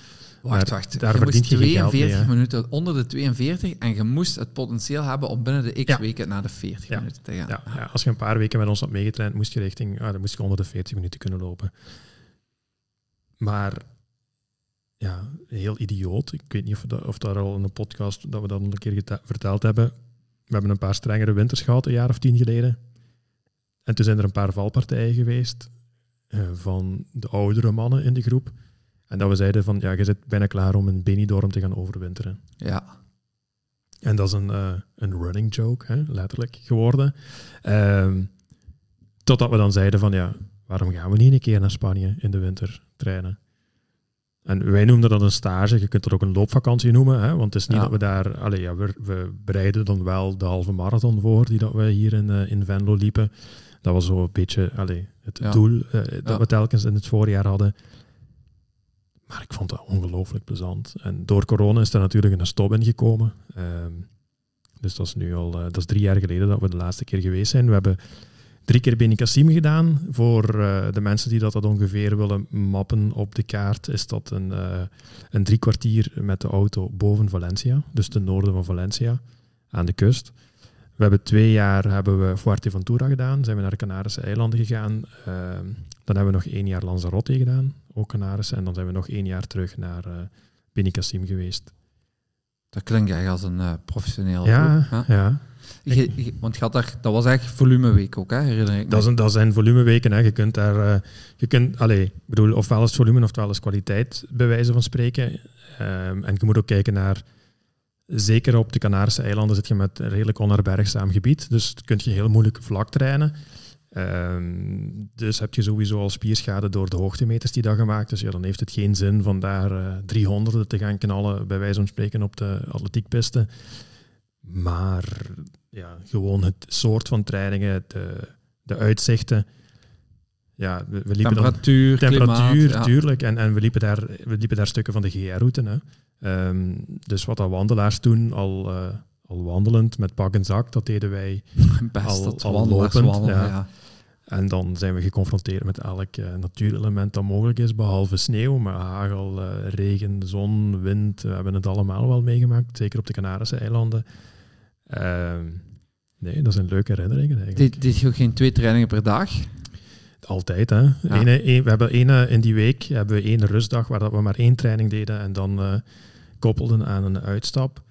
S2: Wacht,
S1: Maar
S2: wacht.
S1: daar
S2: je
S1: verdient
S2: moest
S1: je geen geld
S2: 42
S1: mee, hè?
S2: minuten onder de 42 en je moest het potentieel hebben om binnen de x
S1: Ja.
S2: weken naar de 40
S1: Ja.
S2: minuten te gaan.
S1: Ja, ja, als je een paar weken met ons had meegetraind, moest je richting, ah, dan moest je onder de 40 minuten kunnen lopen. Maar ja, heel idioot. Ik weet niet of, we dat, of daar al in een podcast dat we dat al een keer geta- verteld hebben. We hebben een paar strengere winters gehad, een jaar of tien geleden. En toen zijn er een paar valpartijen geweest eh, van de oudere mannen in de groep. En dat we zeiden van, ja, je zit bijna klaar om in Benidorm te gaan overwinteren.
S2: ja.
S1: En dat is een, eh, een running joke, hè, letterlijk geworden. Ehm, totdat we dan zeiden van ja, waarom gaan we niet een keer naar Spanje in de winter trainen? En wij noemden dat een stage, je kunt dat ook een loopvakantie noemen, hè, want het is niet
S2: Ja.
S1: dat we daar, allee, ja, we, we bereiden dan wel de halve marathon voor die dat we hier in, eh, in Venlo liepen. Dat was zo een beetje allee, het
S2: Ja.
S1: doel eh, dat
S2: Ja.
S1: we telkens in het voorjaar hadden. Maar ik vond dat ongelooflijk plezant. En door corona is er natuurlijk een stop in gekomen. Ehm, dus dat is nu al eh, dat is drie jaar geleden dat we de laatste keer geweest zijn. We hebben drie keer Benicassim gedaan. Voor eh, de mensen die dat, dat ongeveer willen mappen op de kaart, is dat een, eh, een drie kwartier met de auto boven Valencia. Dus ten noorden van Valencia, aan de kust. We hebben twee jaar hebben we Fuerteventura gedaan. Zijn we naar de Canarische eilanden gegaan. Ehm, dan hebben we nog één jaar Lanzarote gedaan, ook Canarische. En dan zijn we nog één jaar terug naar eh Benicassim geweest.
S2: Dat klinkt echt als een eh, professioneel
S1: Ja,
S2: groep, hè?
S1: ja.
S2: Je- je- want je had daar, dat was echt volumeweek ook, hè? herinner ik me.
S1: Dat, is een, dat zijn volumeweken. Hè. Je kunt daar. eh, je kunt, allee, ik bedoel, ofwel is volume ofwel is kwaliteit, bij wijze van spreken. Ehm, en je moet ook kijken naar. Zeker op de Canarische eilanden zit je met een redelijk onherbergzaam gebied. Dus kun je heel moeilijk vlak trainen. Ehm, dus heb je sowieso al spierschade door de hoogtemeters die dat gemaakt. Dus ja, dan heeft het geen zin van daar eh 300 te gaan knallen, bij wijze van spreken, op de atletiekpisten. Maar ja, gewoon het soort van trainingen, de, de uitzichten. Ja, we, we liepen dan
S2: temperatuur,
S1: temperatuur,
S2: klimaat, ja.
S1: tuurlijk. En, en we, liepen daar, we liepen daar stukken van de GR-route. hè. Ehm, dus wat dat wandelaars doen, al, eh, al wandelend met pak en zak, dat deden wij.
S2: Best
S1: al-
S2: dat
S1: al
S2: wandelaars
S1: lopend,
S2: wandelen,
S1: ja.
S2: ja.
S1: En dan zijn we geconfronteerd met elk eh, natuurelement dat mogelijk is, behalve sneeuw, maar hagel, eh, regen, zon, wind. We hebben het allemaal wel meegemaakt, zeker op de Canarische eilanden. Ehm, nee, dat zijn leuke herinneringen eigenlijk.
S2: Deed, deed je ook geen twee trainingen per dag?
S1: Altijd, hè. Ene- een- we hebben ene, in die week hebben we één rustdag waar dat we maar één training deden en dan eh, koppelden aan een uitstap.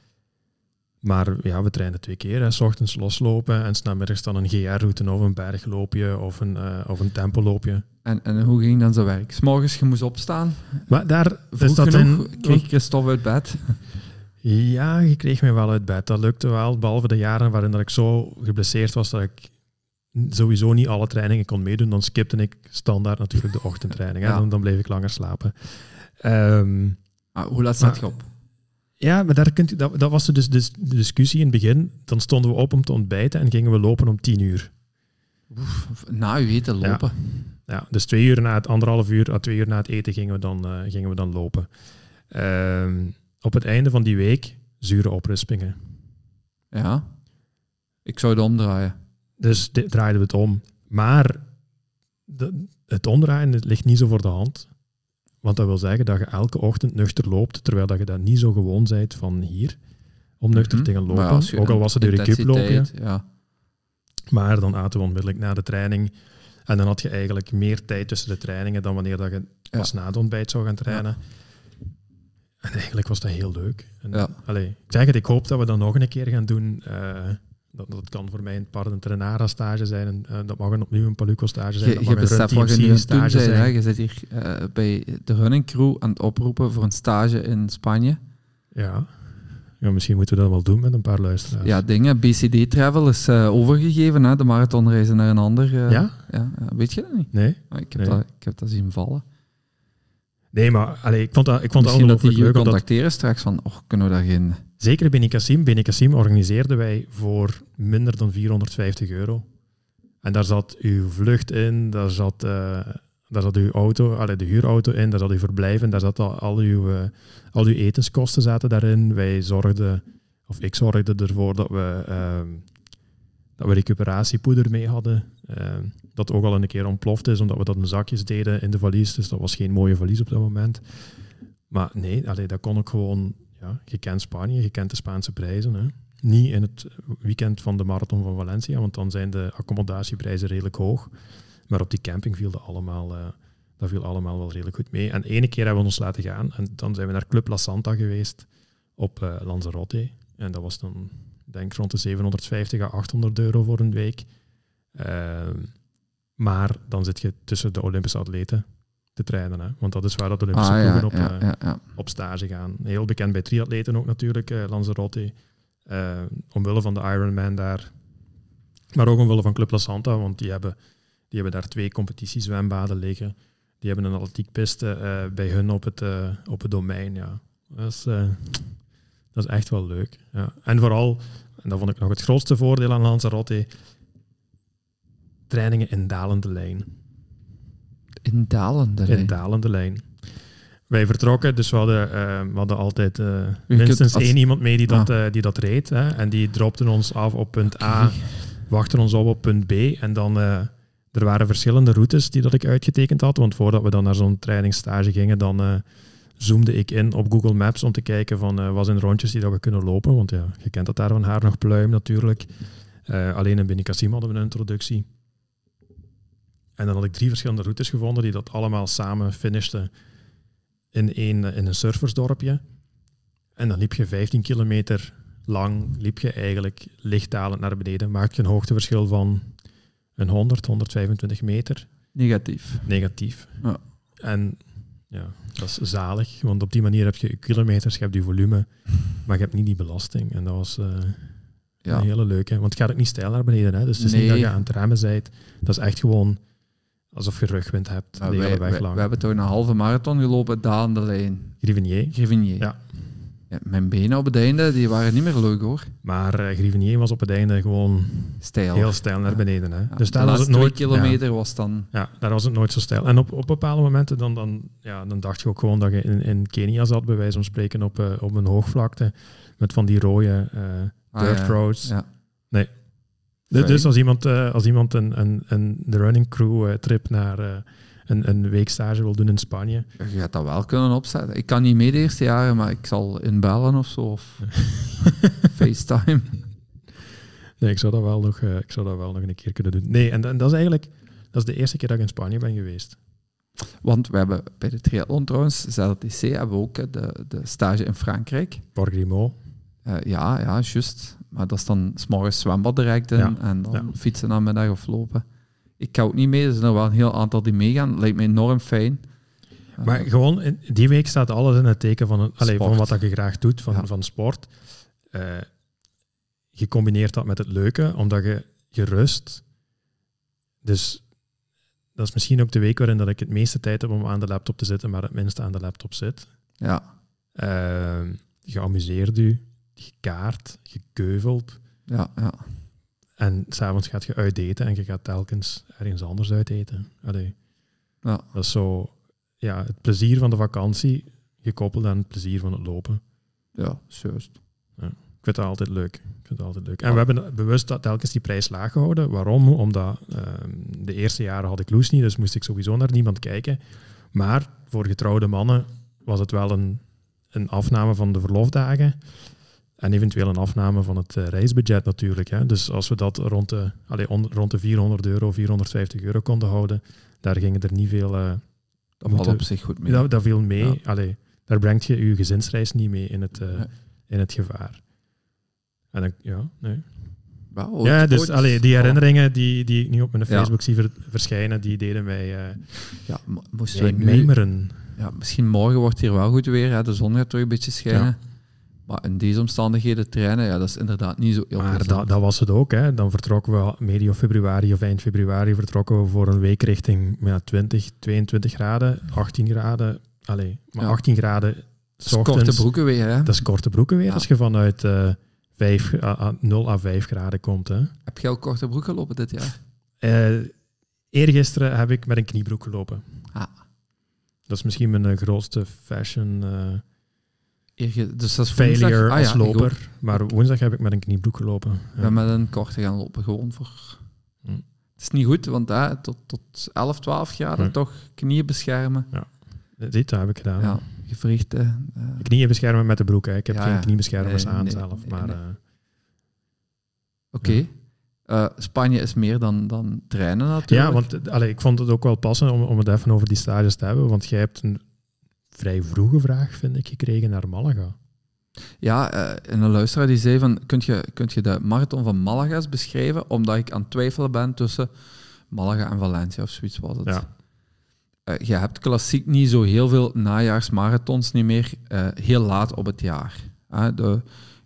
S1: Maar ja, we trainen twee keer. Hè. S ochtends loslopen en s'namiddags dan een GR-route of een bergloopje of een, eh of een tempoloopje.
S2: En, en hoe ging dan zijn werk? S'morgens, je moest opstaan.
S1: Maar daar
S2: Vroeg
S1: is dat
S2: genoeg
S1: in...
S2: kreeg Christophe uit bed.
S1: Ja, je kreeg mij wel uit bed. Dat lukte wel, behalve de jaren waarin dat ik zo geblesseerd was dat ik sowieso niet alle trainingen kon meedoen. Dan skipte ik standaard natuurlijk de ochtendtraining. Hè.
S2: Ja.
S1: Dan, dan bleef ik langer slapen. Ehm,
S2: Ah, hoe laat staat
S1: Maar-
S2: je op?
S1: ja, maar daar kunt, u- dat, dat was dus, dus de discussie in het begin. Dan stonden we op om te ontbijten en gingen we lopen om tien uur.
S2: Na je eten lopen.
S1: Ja, dus twee uur na het anderhalf uur, à twee uur na het eten gingen we dan, eh, gingen we dan lopen. Ehm, op het einde van die week zure oprispingen.
S2: Ja. Ik zou het omdraaien.
S1: Dus di- draaiden we het om. Maar de- het omdraaien het ligt niet zo voor de hand. Want dat wil zeggen dat je elke ochtend nuchter loopt, terwijl dat je dat niet zo gewoon bent van hier, om nuchter
S2: Mhm.
S1: te gaan
S2: Maar
S1: lopen.
S2: als je
S1: Ook al
S2: een
S1: was het door een kip lopen.
S2: intensiteit, Ja.
S1: Maar dan aten we onmiddellijk na de training. En dan had je eigenlijk meer tijd tussen de trainingen dan wanneer dat je pas na het ontbijt zou gaan trainen. En eigenlijk was dat heel leuk. En,
S2: Ja.
S1: allee, ik zeg het, ik hoop dat we dat nog een keer gaan doen. Eh, dat, dat kan voor mij een Pardentenara stage zijn. En, eh, dat mag een, opnieuw een Paluco stage zijn.
S2: Je,
S1: dat
S2: je
S1: mag een Run
S2: beseft wat je
S1: TMC
S2: nu aan het doen
S1: stage
S2: bent, hè.
S1: zijn.
S2: Je zit hier eh, bij de running crew aan het oproepen voor een stage in Spanje.
S1: Ja. ja, misschien moeten we dat wel doen met een paar luisteraars.
S2: Ja, dingen. BCD Travel is eh, overgegeven, hè, de marathonreizen naar een ander. eh.
S1: Ja?
S2: Ja, ja, weet je dat niet?
S1: Nee?
S2: Ah, Ik heb,
S1: Nee.
S2: dat, ik heb dat zien vallen.
S1: Nee, maar allee, ik vond dat, ik vond dat
S2: Misschien dat die
S1: ongelooflijk
S2: je
S1: leuk. Omdat,
S2: contacteren straks van, oh, kunnen we daar geen...
S1: zeker binnen Cassim. Binnen Cassim organiseerden wij voor minder dan 450 euro. En daar zat uw vlucht in, daar zat, eh, daar zat uw auto, allee, de huurauto in, daar zat uw verblijf in, daar zat al, al, uw, eh, al uw etenskosten zaten daarin. Wij zorgden, of ik zorgde ervoor dat we, ehm, dat we recuperatiepoeder mee hadden. Ehm, dat ook al een keer ontploft is, omdat we dat in zakjes deden in de valies. Dus dat was geen mooie valies op dat moment. Maar nee, allee, dat kon ook gewoon... Ja, je kent Spanje, je kent de Spaanse prijzen. Hè? Niet in het weekend van de marathon van Valencia, want dan zijn de accommodatieprijzen redelijk hoog. Maar op die camping viel dat allemaal, eh, dat viel allemaal wel redelijk goed mee. En ene keer hebben we ons laten gaan en dan zijn we naar Club La Santa geweest op eh, Lanzarote. En dat was dan, denk ik, rond de 750 à 800 euro voor een week. Ehm, maar dan zit je tussen de Olympische atleten te trainen. Hè? Want dat is waar dat de Olympische
S2: ah, ja,
S1: ploegen op,
S2: ja,
S1: eh,
S2: ja, ja.
S1: op stage gaan. Heel bekend bij triatleten ook natuurlijk, eh, Lanzarote. Eh, omwille van de Ironman daar. Maar ook omwille van Club La Santa, want die hebben, die hebben daar twee competitiezwembaden liggen. Die hebben een atletiekpiste eh, bij hun op het, eh, op het domein. Ja. Dat, is, eh, dat is echt wel leuk. Ja. En vooral, en dat vond ik nog het grootste voordeel aan Lanzarote, trainingen in dalende lijn
S2: In dalende
S1: in dalende lijn. Wij vertrokken, dus we hadden, eh, we hadden altijd eh,
S2: kunt
S1: minstens
S2: als-
S1: één iemand mee die dat, eh, die dat reed. Hè, en die dropten ons af op punt A, wachten ons op op punt B. En dan, eh, er waren verschillende routes die dat ik uitgetekend had. Want voordat we dan naar zo'n trainingsstage gingen, dan eh, zoomde ik in op Google Maps om te kijken van eh wat zijn rondjes die dat we kunnen lopen. Want ja, je kent dat daar van haar nog pluim natuurlijk. Eh, alleen in Benicassim hadden we een introductie. En dan had ik drie verschillende routes gevonden die dat allemaal samen finishten in, één, eh, in een surfersdorpje. En dan liep je 15 kilometer lang, liep je eigenlijk lichtdalend naar beneden. Maak je een hoogteverschil van een 100, 125 meter.
S2: Negatief.
S1: Negatief.
S2: Ja.
S1: En ja, dat is zalig, want op die manier heb je je kilometers, je hebt je volume, maar je hebt niet die belasting. En dat was... eh,
S2: Ja.
S1: een hele leuke. Want het gaat ook niet stijl naar beneden. Hè? Dus het is niet
S2: Nee.
S1: dat je aan het remmen zijt. Dat is echt gewoon alsof je rugwind hebt
S2: Maar
S1: de
S2: Nou, wij,
S1: hele weg
S2: wij-
S1: lang.
S2: we hebben toch een halve marathon gelopen, dalende lijn.
S1: Grivenier.
S2: Grivigny.
S1: Ja.
S2: Ja, Mijn benen op het einde, die waren niet meer leuk hoor.
S1: Maar eh, Grivenier was op het einde gewoon
S2: Stijl.
S1: heel stijl naar
S2: Ja.
S1: beneden. Hè?
S2: Ja,
S1: dus
S2: de
S1: daar was het
S2: laatste
S1: nooit...
S2: twee kilometer was dan...
S1: Ja, ja, daar was het nooit zo stijl. En op, op bepaalde momenten dan, dan, ja, dan dacht je ook gewoon dat je in, in Kenia zat, bij wijze van spreken, op, eh, op een hoogvlakte. Met van die rode eh
S2: Ah,
S1: dirt
S2: ja.
S1: roads.
S2: Ja.
S1: Dus,
S2: Fijn.
S1: dus als iemand, eh, als iemand een, een, een de running crew eh, trip naar eh, een, een week stage wil doen in Spanje,
S2: Je gaat dat wel kunnen opzetten. Ik kan niet mee de eerste jaren, maar ik zal inbellen of zo. Of FaceTime.
S1: Nee, ik zou dat wel nog, eh, ik zou dat wel nog een keer kunnen doen. Nee, en, en dat is eigenlijk dat is de eerste keer dat ik in Spanje ben geweest.
S2: Want we hebben bij de triathlon trouwens, ZLTC, hebben we ook eh, de, de stage in Frankrijk.
S1: Port Grimaud.
S2: Eh, ja, ja, juist. Maar dat is dan s'morgens zwembad direct in
S1: Ja,
S2: en dan
S1: ja.
S2: fietsen naar middag of lopen. Ik kan ook niet mee, er zijn er wel een heel aantal die meegaan. Lijkt me enorm fijn. Eh,
S1: Maar gewoon, in- die week staat alles in het teken van, een, allee, van
S2: Sport.
S1: wat dat je graag doet, van,
S2: Ja.
S1: van sport. Eh, je combineert dat met het leuke, omdat je gerust. Dus dat is misschien ook de week waarin dat ik het meeste tijd heb om aan de laptop te zitten, maar het minste aan de laptop zit.
S2: ja,
S1: Eh, je amuseert je, je kaart, je keuvelt.
S2: ja, ja.
S1: En s'avonds gaat je uitdaten en je gaat telkens ergens anders uitdaten. Allee.
S2: Ja.
S1: Dat is zo ja, het plezier van de vakantie gekoppeld aan het plezier van het lopen.
S2: ja juist.
S1: Ik vind dat altijd leuk. Ik vind dat altijd leuk. En
S2: Ja.
S1: we hebben bewust dat telkens die prijs laag gehouden. Waarom? Omdat ehm, de eerste jaren had ik Loes niet, dus moest ik sowieso naar niemand kijken. Maar voor getrouwde mannen was het wel een, een afname van de verlofdagen. En eventueel een afname van het eh, reisbudget natuurlijk. Hè. Dus als we dat rond de, allee, on- rond de 400 euro, 450 euro konden houden, daar gingen er niet veel... eh,
S2: Dat
S1: Moeten-
S2: valt op zich goed mee.
S1: dat, dat viel mee.
S2: Ja.
S1: Allee, daar brengt je je gezinsreis niet mee in het, eh,
S2: Nee.
S1: in het gevaar. En dan, ja, nee.
S2: Wel, ooit-
S1: ja, dus
S2: ooit-
S1: allee, die herinneringen die, die ik nu op mijn
S2: Ja.
S1: Facebook zie ver- verschijnen, die deden mij, eh
S2: Ja, mo- moesten
S1: mij
S2: we nu,
S1: mijmeren.
S2: ja, misschien morgen wordt het hier wel goed weer. Hè. De zon gaat terug een beetje schijnen. Maar in deze omstandigheden trainen, ja, dat is inderdaad niet zo heel
S1: Maar
S2: plezant.
S1: dat, dat was het ook. Hè. Dan vertrokken we medio februari of eind februari vertrokken we voor een week richting ja, 20, 22 graden, 18 graden. Allee, maar
S2: Ja.
S1: 18 graden
S2: Dat is korte
S1: ochtends.
S2: broeken weer. Hè.
S1: Dat is korte broeken weer
S2: Ja.
S1: als je vanuit eh 5, 0 à 5 graden komt. Hè.
S2: Heb jij ook korte broeken lopen dit jaar?
S1: Eh eergisteren heb ik met een kniebroek gelopen.
S2: Ah.
S1: Dat is misschien mijn eh, grootste fashion eh,
S2: Eerge- Dus dat is woensdag-
S1: failure
S2: Ah
S1: als
S2: ja, ik ook.
S1: loper. Maar woensdag heb ik met een kniebroek gelopen.
S2: Ik
S1: Ja.
S2: ben met een korte gaan lopen, gewoon voor...
S1: Hm.
S2: Het is niet goed, want hè, tot, tot 11, 12 graden
S1: Hm.
S2: toch knieën beschermen.
S1: Eh, Dit heb ik gedaan.
S2: Ja, gewrichten. eh,
S1: De Knieën beschermen met de broek. Hè. Ik heb
S2: Ja, ja.
S1: geen kniebeschermers
S2: Nee,
S1: aan
S2: nee,
S1: zelf.
S2: nee,
S1: maar
S2: nee.
S1: eh,
S2: Oké. Eh, Spanje is meer dan, dan trainen natuurlijk.
S1: ja, want eh, allee, ik vond het ook wel passend om, om het even over die stages te hebben. Want jij hebt een vrij vroege vraag, vind ik, gekregen naar Malaga.
S2: Ja, eh, en een luisteraar die zei van, kunt je, kunt je de marathon van Malaga eens beschrijven? Omdat ik aan het twijfelen ben tussen Malaga en Valencia of zoiets was het.
S1: Ja.
S2: Eh, je hebt klassiek niet zo heel veel najaarsmarathons niet meer, eh, heel laat op het jaar. Hè, de,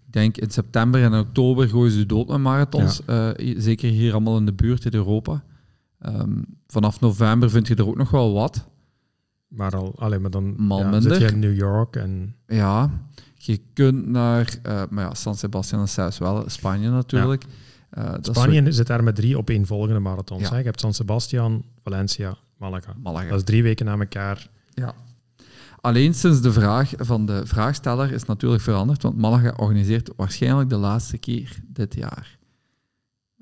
S2: ik denk in september en in oktober gooien ze dood met marathons, eh, i- zeker hier allemaal in de buurt in Europa. Ehm, vanaf november vind je er ook nog wel wat.
S1: Maar, al, allee, maar dan
S2: Mal
S1: ja, zit
S2: minder.
S1: je in New York en
S2: Ja, je kunt naar eh, maar ja, San Sebastian en zelfs wel Spanje natuurlijk. Eh, dat is
S1: Spanje zit daar met drie opeenvolgende marathons.
S2: Ja.
S1: Hè? Je hebt San Sebastian, Valencia, Malaga.
S2: zo- Malaga.
S1: Dat is drie weken na elkaar.
S2: Alleen sinds de vraag van de vraagsteller is natuurlijk veranderd, want Malaga organiseert waarschijnlijk de laatste keer dit jaar.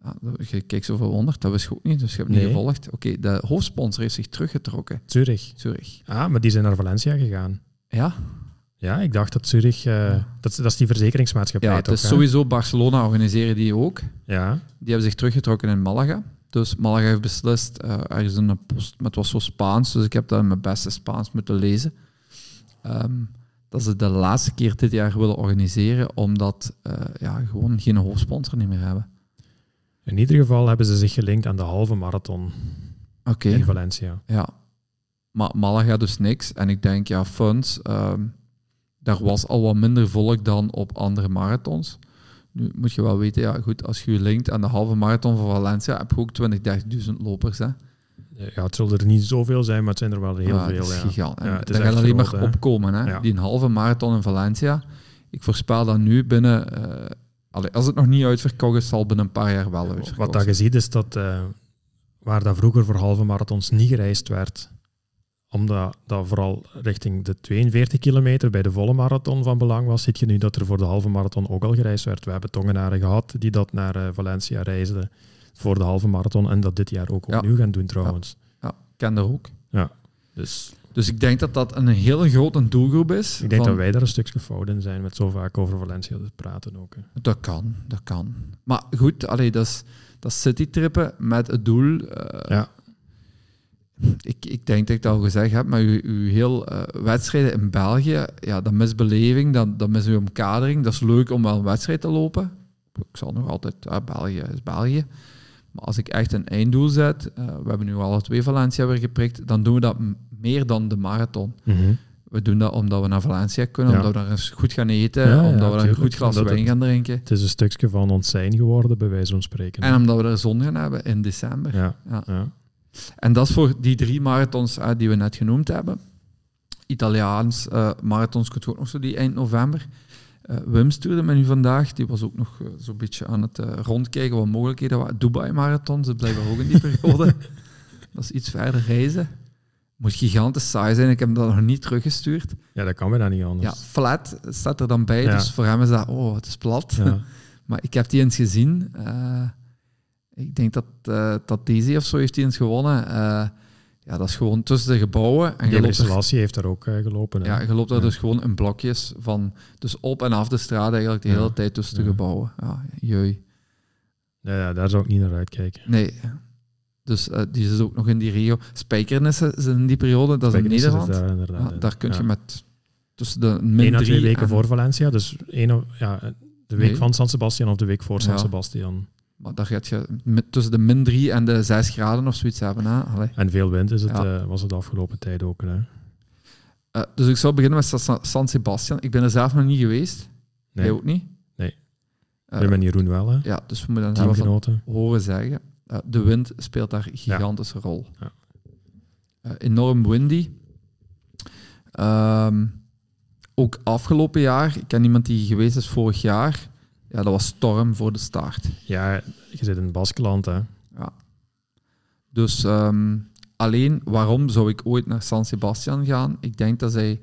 S2: Ja, dat- je kijkt zo verwonderd, dat wist ik ook niet, dus je hebt niet
S1: Nee.
S2: gevolgd. Oké, de hoofdsponsor heeft zich teruggetrokken,
S1: Zurich.
S2: Zurich.
S1: Ah, maar die zijn naar Valencia gegaan.
S2: Ja,
S1: Ja, ik dacht dat Zurich... eh, dat, is- dat is die verzekeringsmaatschappij
S2: ja het
S1: toch?
S2: is
S1: hè?
S2: sowieso Barcelona organiseren die ook.
S1: Ja,
S2: Die hebben zich teruggetrokken in Malaga. Dus Malaga heeft beslist, eh er is een post, maar het was zo Spaans, dus ik heb dat in mijn beste Spaans moeten lezen. Ehm, dat ze de laatste keer dit jaar willen organiseren, omdat eh, ja, gewoon geen hoofdsponsor niet meer hebben.
S1: in ieder geval hebben ze zich gelinkt aan de halve marathon
S2: Oké,
S1: in Valencia.
S2: ja. Maar Malaga dus niks. En ik denk, ja, funds, ehm, daar was al wat minder volk dan op andere marathons. Nu moet je wel weten, ja, goed, als je je linkt aan de halve marathon van Valencia, heb je ook 20.000, 30.000 lopers, hè.
S1: Ja, het zullen er niet zoveel zijn, maar het zijn er wel heel
S2: ja,
S1: veel.
S2: Ah, Dat is
S1: ja.
S2: gigantisch.
S1: Ja, het is
S2: dat gaat
S1: echt
S2: alleen
S1: groot,
S2: maar
S1: hè.
S2: opkomen. Hè?
S1: Ja.
S2: Die een halve marathon in Valencia. Ik voorspel dat nu binnen... eh, allee, als het nog niet uitverkocht is, zal binnen een paar jaar wel uitverkocht
S1: Wat dat je ziet is dat eh, waar dat vroeger voor halve marathons niet gereisd werd, omdat dat vooral richting de 42 kilometer bij de volle marathon van belang was, zie je nu dat er voor de halve marathon ook al gereisd werd. We hebben tongenaren gehad die dat naar eh, Valencia reisden voor de halve marathon en dat dit jaar ook
S2: Ja.
S1: opnieu gaan doen trouwens.
S2: Ja, ik ken dat ook.
S1: Dus
S2: Dus ik denk dat dat een hele grote doelgroep is.
S1: ik denk
S2: van-
S1: dat wij daar een stukje fout in zijn met zo vaak over Valencia te praten ook. hè.
S2: Dat kan, dat kan. Maar goed, allee, dat is, dat is citytrippen met het doel... eh,
S1: Ja.
S2: ik, ik denk dat ik dat al gezegd heb, maar uw, uw heel eh, wedstrijden in België, ja, dat misbeleving, dat, dat mis uw omkadering, dat is leuk om wel een wedstrijd te lopen. Ik zal nog altijd, ja, België is België. Maar als ik echt een einddoel zet, eh, we hebben nu alle twee Valencia weer geprikt, dan doen we dat m- meer dan de marathon.
S1: Mhm.
S2: We doen dat omdat we naar Valencia kunnen,
S1: Ja.
S2: omdat we daar eens goed gaan eten,
S1: Ja, ja,
S2: omdat we daar een
S1: tuurlijk.
S2: goed glas
S1: Omdat het-
S2: wijn gaan drinken.
S1: Het is een stukje van ons zijn geworden, bij wijze van spreken.
S2: En omdat we er zon gaan hebben in december.
S1: ja.
S2: Ja.
S1: Ja.
S2: En dat is voor die drie marathons eh, die we net genoemd hebben. Italiaans eh, marathons kunt je ook nog zo die eind november. Eh, Wim stuurde me nu vandaag, die was ook nog eh, zo'n beetje aan het eh, rondkijken wat mogelijkheden waren. Dubai marathons, dat blijkbaar ook in die periode. dat is iets verder reizen. Moet gigantisch saai zijn, ik heb hem dat nog niet teruggestuurd.
S1: ja, dat kan bijna niet
S2: Ja,
S1: anders.
S2: flat staat er dan bij,
S1: Ja.
S2: dus voor hem is dat, oh, het is plat.
S1: Ja.
S2: Maar ik heb die eens gezien. eh, ik denk dat, eh dat Daisy of zo heeft die eens gewonnen. Eh, ja, dat is gewoon tussen de gebouwen. En je
S1: Gabriel
S2: loopt, er,
S1: Selassie heeft daar ook eh, gelopen. hè.
S2: ja, je loopt daar
S1: Ja.
S2: dus gewoon in blokjes van... Dus op en af de straat eigenlijk de
S1: Ja.
S2: hele tijd tussen de
S1: Ja.
S2: gebouwen. Ja, jeu.
S1: Ja, ja, daar zou ik niet naar uitkijken.
S2: Nee. Dus eh, die is ook nog in die regio. Spijkernissen is in die periode, dat is in
S1: Spijkenissen
S2: Nederland.
S1: zit dus daar inderdaad.
S2: Ja,
S1: in.
S2: daar kun je
S1: Ja.
S2: met tussen de min
S1: Eén à twee
S2: drie
S1: weken
S2: en-
S1: voor Valencia, dus één of, ja, de week
S2: Nee.
S1: van San Sebastian of de week voor San
S2: Ja.
S1: Sebastian.
S2: Maar daar gaat je met, tussen de min drie en de zes graden of zoiets hebben. Hè? Allee.
S1: En veel wind is het,
S2: Ja.
S1: eh, was het de afgelopen tijd ook. Hè.
S2: Eh, dus ik zou beginnen met Sa- Sa- San Sebastian. Ik ben er zelf nog niet geweest.
S1: Nee,
S2: Jij ook niet?
S1: Nee.
S2: Eh,
S1: ik ben Jeroen wel, hè.
S2: ja, dus we moeten het hebben van
S1: teamgenoten.
S2: horen zeggen. Eh, de wind speelt daar een gigantische rol.
S1: Ja.
S2: Eh, enorm windy. Ehm, ook afgelopen jaar, ik ken iemand die geweest is vorig jaar. Ja, dat was storm voor de start.
S1: Ja, je zit in het Baskeland, hè.
S2: Dus ehm, alleen waarom zou ik ooit naar San Sebastian gaan? Ik denk dat zij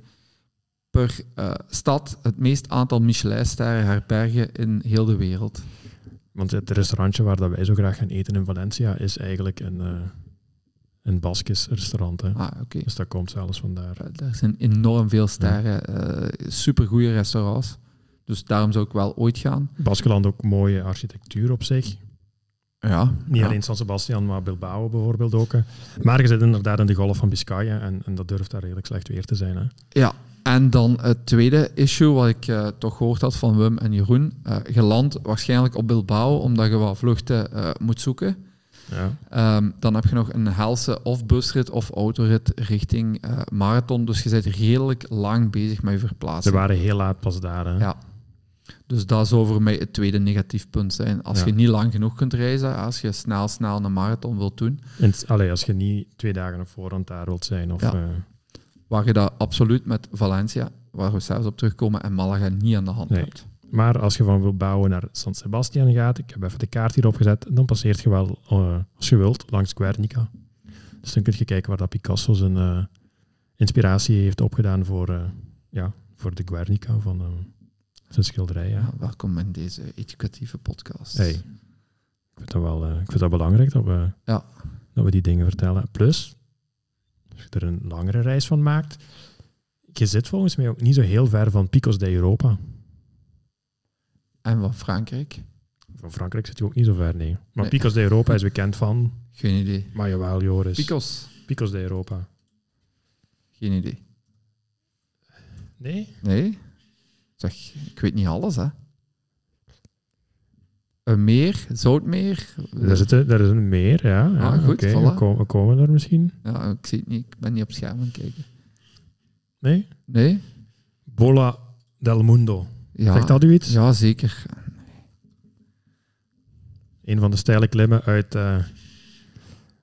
S2: per eh, stad het meest aantal Michelinsterren herbergen in heel de wereld.
S1: Want het restaurantje waar dat wij zo graag gaan eten in Valencia is eigenlijk een, eh een Baskisch restaurant. Hè.
S2: Ah, oké.
S1: Dus dat komt zelfs vandaar.
S2: Eh, Daar zijn enorm veel sterren, eh supergoeie restaurants. Dus daarom zou ik wel ooit gaan.
S1: Baskeland ook mooie architectuur op zich.
S2: Ja,
S1: Niet
S2: ja.
S1: alleen San Sebastian, maar Bilbao bijvoorbeeld ook. hè. Maar je zit inderdaad in de golf van Biscayen en, en dat durft daar redelijk slecht weer te zijn. Hè.
S2: Ja, en dan het tweede issue wat ik eh, toch gehoord had van Wim en Jeroen. Eh, je landt waarschijnlijk op Bilbao, omdat je wat vluchten eh, moet zoeken.
S1: Ja.
S2: Ehm, dan heb je nog een helse of busrit of autorit richting eh, marathon. Dus je bent redelijk lang bezig met je
S1: Ze
S2: verplaatsen.
S1: waren heel laat pas daar. Hè.
S2: Ja. Dus dat zou voor mij het tweede negatief punt zijn. Als
S1: Ja.
S2: je niet lang genoeg kunt reizen, als je snel, snel een marathon wilt doen,
S1: En het- allee, als je niet twee dagen op voorhand daar wilt zijn. Of,
S2: Ja.
S1: eh,
S2: waar je dat absoluut met Valencia, waar we zelfs op terugkomen, en Malaga niet aan de hand
S1: Nee.
S2: hebt.
S1: maar als je van Bilbao naar San Sebastian gaat, ik heb even de kaart hierop gezet, dan passeert je wel, eh, als je wilt, langs Guernica. Dus dan kun je kijken waar dat Picasso zijn eh, inspiratie heeft opgedaan voor, eh, ja, voor de Guernica van eh, zijn schilderij. Ja.
S2: Ja, welkom in deze educatieve podcast.
S1: Hey, ik vind dat wel eh, ik vind dat belangrijk dat we,
S2: Ja.
S1: dat we die dingen vertellen. Plus, als je er een langere reis van maakt, je zit volgens mij ook niet zo heel ver van Picos de Europa.
S2: En van Frankrijk?
S1: Van Frankrijk zit je ook niet zo ver, nee. Maar
S2: Nee.
S1: Picos de Europa is bekend van,
S2: Geen idee.
S1: maar jawel Joris,
S2: Picos?
S1: Picos de Europa.
S2: Geen idee.
S1: Nee?
S2: Nee? Zeg, ik weet niet alles, hè. Een meer, zoutmeer.
S1: Daar, zitten, daar is een meer, ja. ja
S2: Ah, goed,
S1: oké,
S2: voilà.
S1: we, komen, we komen daar misschien.
S2: Ja, ik zie het niet, ik ben niet op scherm aan het kijken.
S1: Nee?
S2: Nee?
S1: Bola del Mundo.
S2: Ja.
S1: Zegt dat u iets?
S2: Ja, zeker.
S1: een van de steile klimmen uit, eh,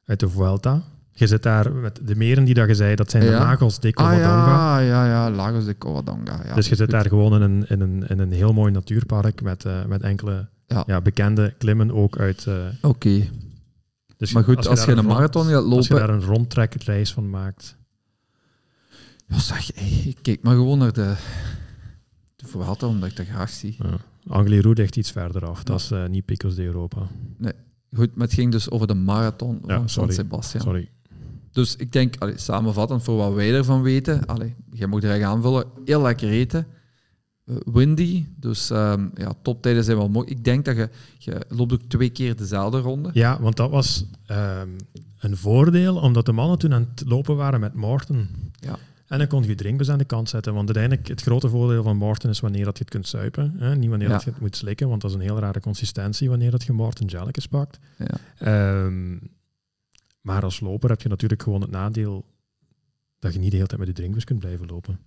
S1: uit de Vuelta. Je zit daar met de meren die dat je zei, dat zijn de
S2: Ja.
S1: nagels de
S2: Ah
S1: Covadonga.
S2: ja, ja, ja, Lagos de Covadonga. Ja,
S1: dus je zit
S2: Goed.
S1: daar gewoon in een, in een, in een heel mooi natuurpark met, eh, met enkele
S2: Ja.
S1: ja. bekende klimmen ook uit. eh,
S2: Oké,
S1: dus
S2: maar goed, als,
S1: daar
S2: je een
S1: rond-
S2: marathon gaat
S1: Als je
S2: lopen...
S1: daar een rondtrekreis van maakt.
S2: Ja, zeg, hey, ik kijk maar gewoon naar de... De Vuelta, omdat ik dat graag zie.
S1: Ja. Angliru ligt iets verder af. Dat is eh, niet Picos de Europa.
S2: Goed, maar het ging dus over de marathon
S1: Ja,
S2: van San
S1: sorry.
S2: Sebastian.
S1: Sorry.
S2: Dus ik denk, allee, samenvattend voor wat wij ervan weten, allee, jij mag er echt aanvullen, heel lekker eten. eh, windy. Dus ehm ja, toptijden zijn wel mooi. Ik denk dat je, je loopt ook twee keer dezelfde ronde.
S1: Ja, want dat was ehm, een voordeel, omdat de mannen toen aan het lopen waren met Morten.
S2: Ja.
S1: En dan kon je je drinkbus aan de kant zetten. Want uiteindelijk, het grote voordeel van Morten is wanneer dat je het kunt suipen. Hè? Niet wanneer
S2: Ja.
S1: dat je het moet slikken, want dat is een heel rare consistentie wanneer dat je Morten Jellikes pakt.
S2: Ja.
S1: Ehm, maar als loper heb je natuurlijk gewoon het nadeel dat je niet de hele tijd met die drinkbus kunt blijven lopen.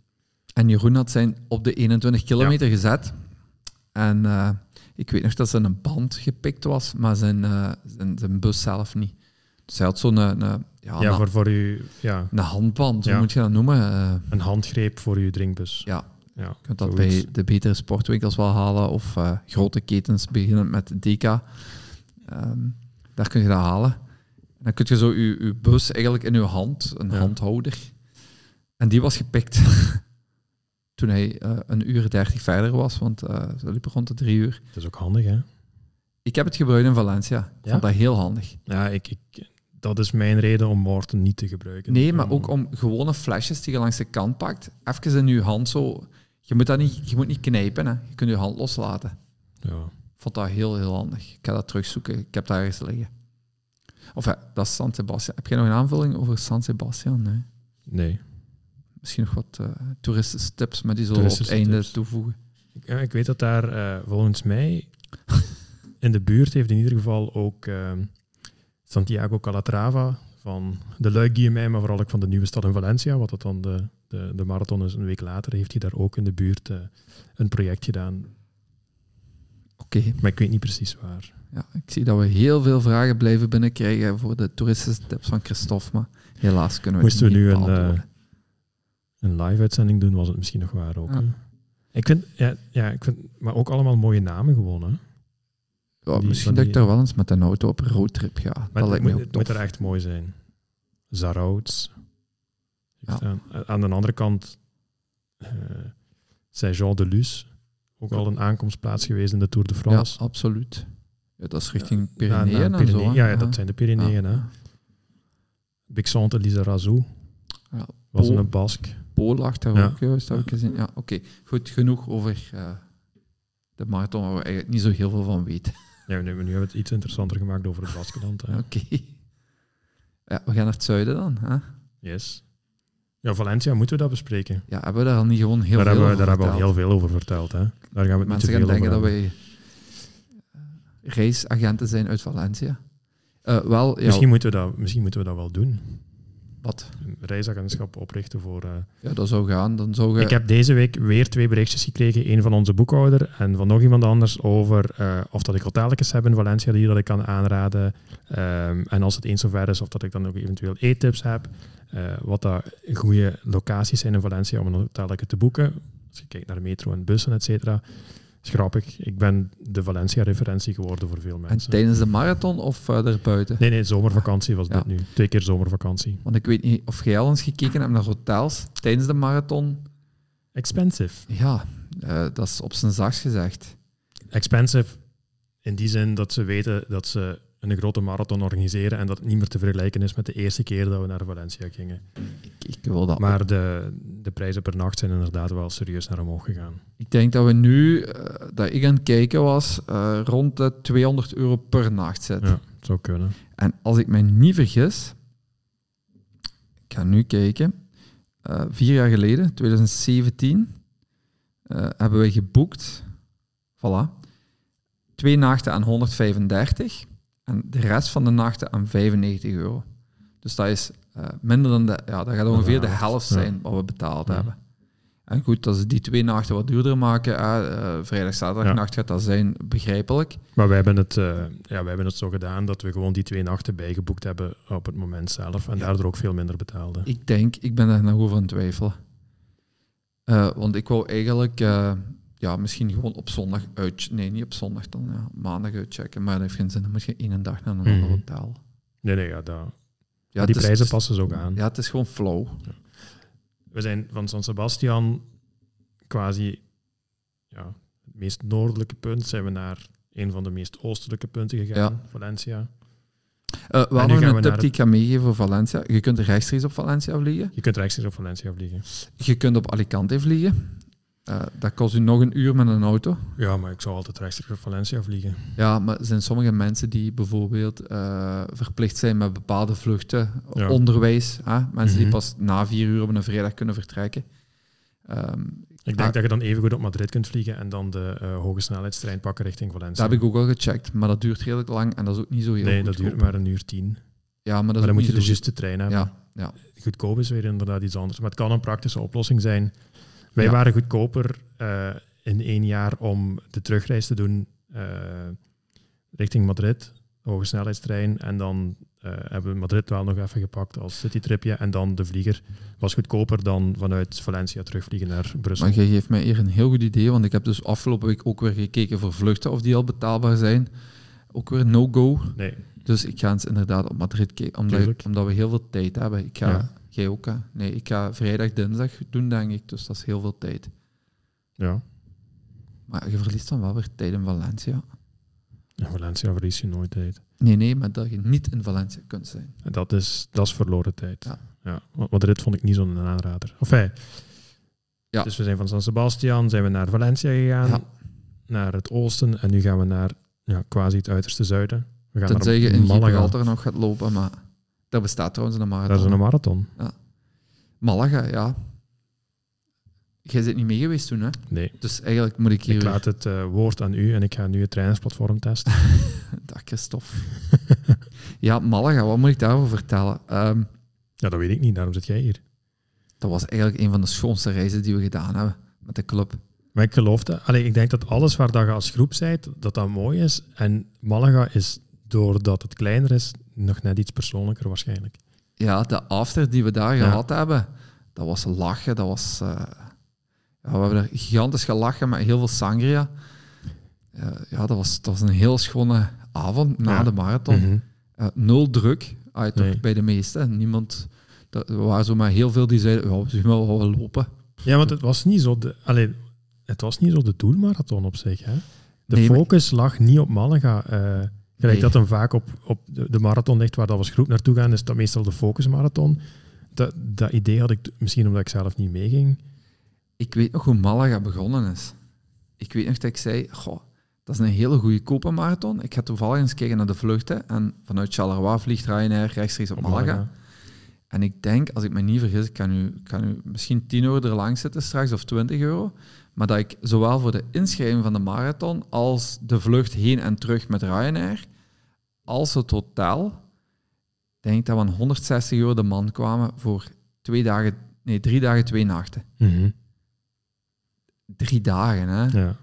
S2: En Jeroen had zijn op de 21 kilometer gezet. En eh, ik weet nog dat zijn band gepikt was, maar zijn, eh, zijn, zijn bus zelf niet. Dus hij had zo'n eh, een,
S1: Ja,
S2: ja, een,
S1: voor, voor je, ja,
S2: een handband,
S1: Ja.
S2: hoe moet je dat noemen? Eh,
S1: een handgreep voor je drinkbus.
S2: Ja.
S1: ja
S2: je kunt dat
S1: zoiets.
S2: bij de betere sportwinkels wel halen, of eh, grote ketens, beginnend met DK. Ehm, daar kun je dat halen. En dan kun je zo je, je bus eigenlijk in je hand, een
S1: Ja.
S2: handhouder. En die was gepikt toen hij eh, een uur dertig verder was, want eh ze liepen rond de drie uur.
S1: Het is ook handig, hè?
S2: Ik heb het gebruikt in Valencia. Ik
S1: Ja?
S2: vond dat heel handig.
S1: Ja, ik, ik, dat is mijn reden om Morten niet te gebruiken.
S2: Nee, maar
S1: Om-
S2: ook om gewone flesjes die je langs de kant pakt, even in je hand zo. Je moet, dat niet, je moet niet knijpen, hè. je kunt je hand loslaten.
S1: Ja.
S2: Ik vond dat heel, heel handig. Ik ga dat terugzoeken. Ik heb daar ergens liggen. Of ja, dat is San Sebastian. Heb jij nog een aanvulling over San Sebastian? Nee.
S1: Nee.
S2: Misschien nog wat eh toeristische tips, maar die zullen we op het
S1: Toeristische
S2: einde
S1: tips.
S2: toevoegen.
S1: Ik, ja, ik weet dat daar eh, volgens mij in de buurt heeft in ieder geval ook ehm, Santiago Calatrava van de Luik Guillemijn, maar vooral ook van de nieuwe stad in Valencia, wat dat dan de, de, de marathon is een week later, heeft hij daar ook in de buurt eh, een project gedaan.
S2: Oké,
S1: Maar ik weet niet precies waar.
S2: ja, ik zie dat we heel veel vragen blijven binnenkrijgen voor de toeristische tips van Christophe, maar helaas kunnen we het
S1: Moesten we
S2: niet
S1: nu een, eh,
S2: beantwoorden.
S1: Een live-uitzending doen was het misschien nog waar ook.
S2: Ja.
S1: hè. Ik vind, ja, ja, ik vind, maar ook allemaal mooie namen gewoon. Hè.
S2: Ja,
S1: Die-
S2: misschien
S1: van
S2: dat ik
S1: die-
S2: daar wel eens met een auto op een roadtrip ga.
S1: Maar
S2: dat
S1: het,
S2: lijkt
S1: moet,
S2: me ook
S1: het moet
S2: tof.
S1: er echt mooi zijn. Zarouts. Ik
S2: Ja.
S1: sta- a- Aan de andere kant eh Saint-Jean de Luz. Ook al een aankomstplaats geweest in de Tour de
S2: ja,
S1: France.
S2: absoluut. Ja, dat is richting
S1: Na- na
S2: Pyreneeën en
S1: Pyreneeën-
S2: zo. hè.
S1: ja, ja, dat zijn de Pyreneeën. hè.
S2: Ja.
S1: Bixante Lizarazu
S2: Ja,
S1: was
S2: Polen.
S1: een Bask.
S2: Polen lag daar
S1: Ja.
S2: ook juist, heb ik gezien. Ja, oké. Goed, genoeg over eh, de marathon waar we eigenlijk niet zo heel veel van weten.
S1: Ja, nu, nu hebben we het iets interessanter gemaakt over het Baskeland. hè.
S2: Oké. Ja, we gaan naar het zuiden dan. Hè?
S1: Yes. Ja, Valencia moeten we dat bespreken.
S2: Ja, hebben we daar al niet gewoon
S1: daar
S2: heel veel
S1: hebben we,
S2: over
S1: daar hebben we al
S2: verteld?
S1: heel veel over verteld. Hè. Daar gaan we het
S2: Mensen
S1: niet te
S2: gaan
S1: veel over
S2: denken dat
S1: hebben.
S2: wij eh, reisagenten zijn uit Valencia. Eh, wel, ja,
S1: Misschien, moeten we dat, misschien moeten we dat wel doen.
S2: wat?
S1: Een reisagentschap oprichten voor... eh,
S2: Ja, dat zou gaan. Dan zou je...
S1: Ik heb deze week weer twee berichtjes gekregen. Eén van onze boekhouder en van nog iemand anders over eh, of dat ik hotelletjes heb in Valencia die dat ik kan aanraden. Ehm, en als het eens zover is, of dat ik dan ook eventueel eettips heb. Eh, wat dat goede locaties zijn in Valencia om een hotelletje te boeken. Als je kijkt naar metro en bussen, et cetera. Is grappig. Ik ben de Valencia-referentie geworden voor veel
S2: En
S1: mensen.
S2: tijdens de marathon of eh, daarbuiten?
S1: Nee, nee, zomervakantie was
S2: Ja.
S1: dit nu. Twee keer zomervakantie.
S2: Want ik weet niet of jij al eens gekeken hebt naar hotels tijdens de marathon.
S1: Expensive.
S2: Ja, eh, dat is op zijn zachtst gezegd.
S1: expensive in die zin dat ze weten dat ze een grote marathon organiseren en dat het niet meer te vergelijken is met de eerste keer dat we naar Valencia gingen.
S2: Ik, ik wil dat.
S1: Maar de, de prijzen per nacht zijn inderdaad wel serieus naar omhoog gegaan.
S2: Ik denk dat we nu, eh, dat ik aan het kijken was, eh, rond de 200 euro per nacht zitten.
S1: Ja, het zou kunnen.
S2: En als ik mij niet vergis, ik ga nu kijken, eh, vier jaar geleden, 2017, eh, hebben wij geboekt, voilà, twee nachten aan 135 en de rest van de nachten aan 95 euro. Dus dat is eh, minder dan de, ja, dat gaat ongeveer de
S1: helft,
S2: helft
S1: ja.
S2: zijn wat we betaald
S1: Ja.
S2: hebben. En goed, dat ze die twee nachten wat duurder maken, eh, eh, vrijdag, zaterdag nacht gaat dat zijn, begrijpelijk.
S1: Maar wij hebben, het, eh, ja, wij hebben het zo gedaan dat we gewoon die twee nachten bijgeboekt hebben op het moment zelf en
S2: Ja.
S1: daardoor ook veel minder betaalden.
S2: Ik denk, ik ben daar nog over aan het twijfelen. Eh, want ik wou eigenlijk, eh, ja, misschien gewoon op zondag uit... Nee, niet op zondag dan, ja, maandag uitchecken. Maar dat heeft geen zin, dan moet je één dag naar een
S1: Mhm.
S2: ander hotel.
S1: Nee, nee, ja, dat,
S2: Ja,
S1: maar
S2: het
S1: die
S2: is-
S1: prijzen
S2: het is-
S1: passen ze ook aan.
S2: Ja, het is gewoon Eh, flow.
S1: We zijn van San Sebastian quasi ja, het meest noordelijke punt zijn we naar een van de meest oostelijke punten gegaan, Valencia.
S2: Eh we
S1: nu
S2: hadden
S1: gaan
S2: nog
S1: we naar
S2: een tip die ik ga meegeven voor Valencia. Je kunt rechtstreeks op Valencia vliegen.
S1: Je kunt rechtstreeks op Valencia vliegen.
S2: Je kunt op Alicante vliegen. Eh, dat kost u nog een uur met een auto.
S1: Ja, maar ik zou altijd rechtstreeks op Valencia vliegen.
S2: Ja, maar er zijn sommige mensen die bijvoorbeeld eh, verplicht zijn met bepaalde vluchten,
S1: Ja.
S2: onderwijs. Hè? Mensen die
S1: Mhm.
S2: pas na vier uur op een vrijdag kunnen vertrekken. Ehm,
S1: Ik denk
S2: Ah.
S1: dat je dan even goed op Madrid kunt vliegen en dan de eh, hoge snelheidstrein pakken richting Valencia.
S2: dat heb ik ook al gecheckt, maar dat duurt redelijk lang en dat is ook niet zo heel
S1: nee, dat
S2: goedkoop.
S1: duurt maar een uur tien.
S2: Ja, maar dat
S1: Maar
S2: is
S1: dan
S2: ook
S1: moet je
S2: niet
S1: de
S2: zo
S1: juiste trein hebben.
S2: Ja, ja.
S1: Goedkoop is weer inderdaad iets anders. Maar het kan een praktische oplossing zijn. Wij
S2: Ja.
S1: waren goedkoper eh, in één jaar om de terugreis te doen eh, richting Madrid, hoge snelheidstrein. En dan eh, hebben we Madrid wel nog even gepakt als citytripje. En dan de vlieger was goedkoper dan vanuit Valencia terugvliegen naar Brussel.
S2: Maar jij geeft mij hier een heel goed idee, want ik heb dus afgelopen week ook weer gekeken voor vluchten of die al betaalbaar zijn. Ook weer no-go.
S1: Nee,
S2: Dus ik ga eens inderdaad op Madrid kijken, omdat,
S1: Tuurlijk.
S2: omdat we heel veel tijd hebben. Ik ga,
S1: Ja.
S2: Jij ook, hè? Nee, ik ga vrijdag, dinsdag doen, denk ik. Dus dat is heel veel tijd.
S1: ja.
S2: Maar je verliest dan wel weer tijd in Valencia.
S1: In Valencia verlies je nooit tijd.
S2: Nee, nee, maar dat je niet in Valencia kunt zijn.
S1: En Dat is, dat is verloren tijd.
S2: Ja.
S1: Ja. want Madrid vond ik niet zo'n aanrader. Enfin,
S2: Ja.
S1: Dus we zijn van San Sebastian, zijn we naar Valencia gegaan,
S2: Ja.
S1: naar het oosten en nu gaan we naar ja, quasi het uiterste zuiden. We gaan
S2: Tenzij je
S1: naar
S2: in
S1: Malaga.
S2: Gibraltar nog gaat lopen, maar daar bestaat trouwens een
S1: Daar is
S2: marathon.
S1: een marathon.
S2: Malaga, ja. Jij bent niet mee geweest toen, hè?
S1: Nee,
S2: Dus eigenlijk moet ik hier
S1: ik
S2: weer-
S1: laat het eh, woord aan u en ik ga nu het trainersplatform testen.
S2: Dag Christophe. ja, Malaga, wat moet ik daarover vertellen? Ehm,
S1: ja, dat weet ik niet, daarom zit jij hier.
S2: dat was eigenlijk een van de schoonste reizen die we gedaan hebben met de club.
S1: Maar ik geloof dat. Allee, ik denk dat alles waar dat je als groep zijt, dat dat mooi is. En Malaga is, doordat het kleiner is, nog net iets persoonlijker waarschijnlijk.
S2: Ja, de after die we daar
S1: Ja.
S2: gehad hebben, dat was lachen, dat was... eh, ja, we hebben er gigantisch gelachen met heel veel sangria. Eh, ja, dat was, dat was een heel schone avond na
S1: Ja.
S2: de marathon.
S1: Mhm.
S2: Eh, nul druk, ah, toch
S1: Nee.
S2: bij de meesten. Niemand... Dat, er waren zomaar heel veel die zeiden, ja, we zien wel wat we lopen.
S1: Ja, want het was niet zo de, allee, het was niet zo de doelmarathon op zich. Hè? De
S2: Nee, maar-
S1: focus lag niet op Malaga. eh, gelijk
S2: Nee.
S1: dat hem vaak op, op de de marathon ligt waar dat als groep naartoe gaan, is dat meestal de focusmarathon. Dat, dat idee had ik t- misschien omdat ik zelf niet meeging.
S2: Ik weet nog hoe Malaga begonnen is. Ik weet nog dat ik zei, goh, dat is een hele goede kopenmarathon. Ik ga toevallig eens kijken naar de vluchten. En vanuit Charleroi vliegt Ryanair rechtstreeks op
S1: Op
S2: Malaga.
S1: Malaga.
S2: En ik denk, als ik me niet vergis, ik kan u, ik kan u misschien 10 euro er langs zitten straks of 20 euro. Maar dat ik zowel voor de inschrijving van de marathon als de vlucht heen en terug met Ryanair, als het totaal, denk ik dat we aan 160 euro de man kwamen voor twee dagen, nee, drie dagen, twee nachten.
S1: Mhm,
S2: Drie dagen, hè?
S1: Ja.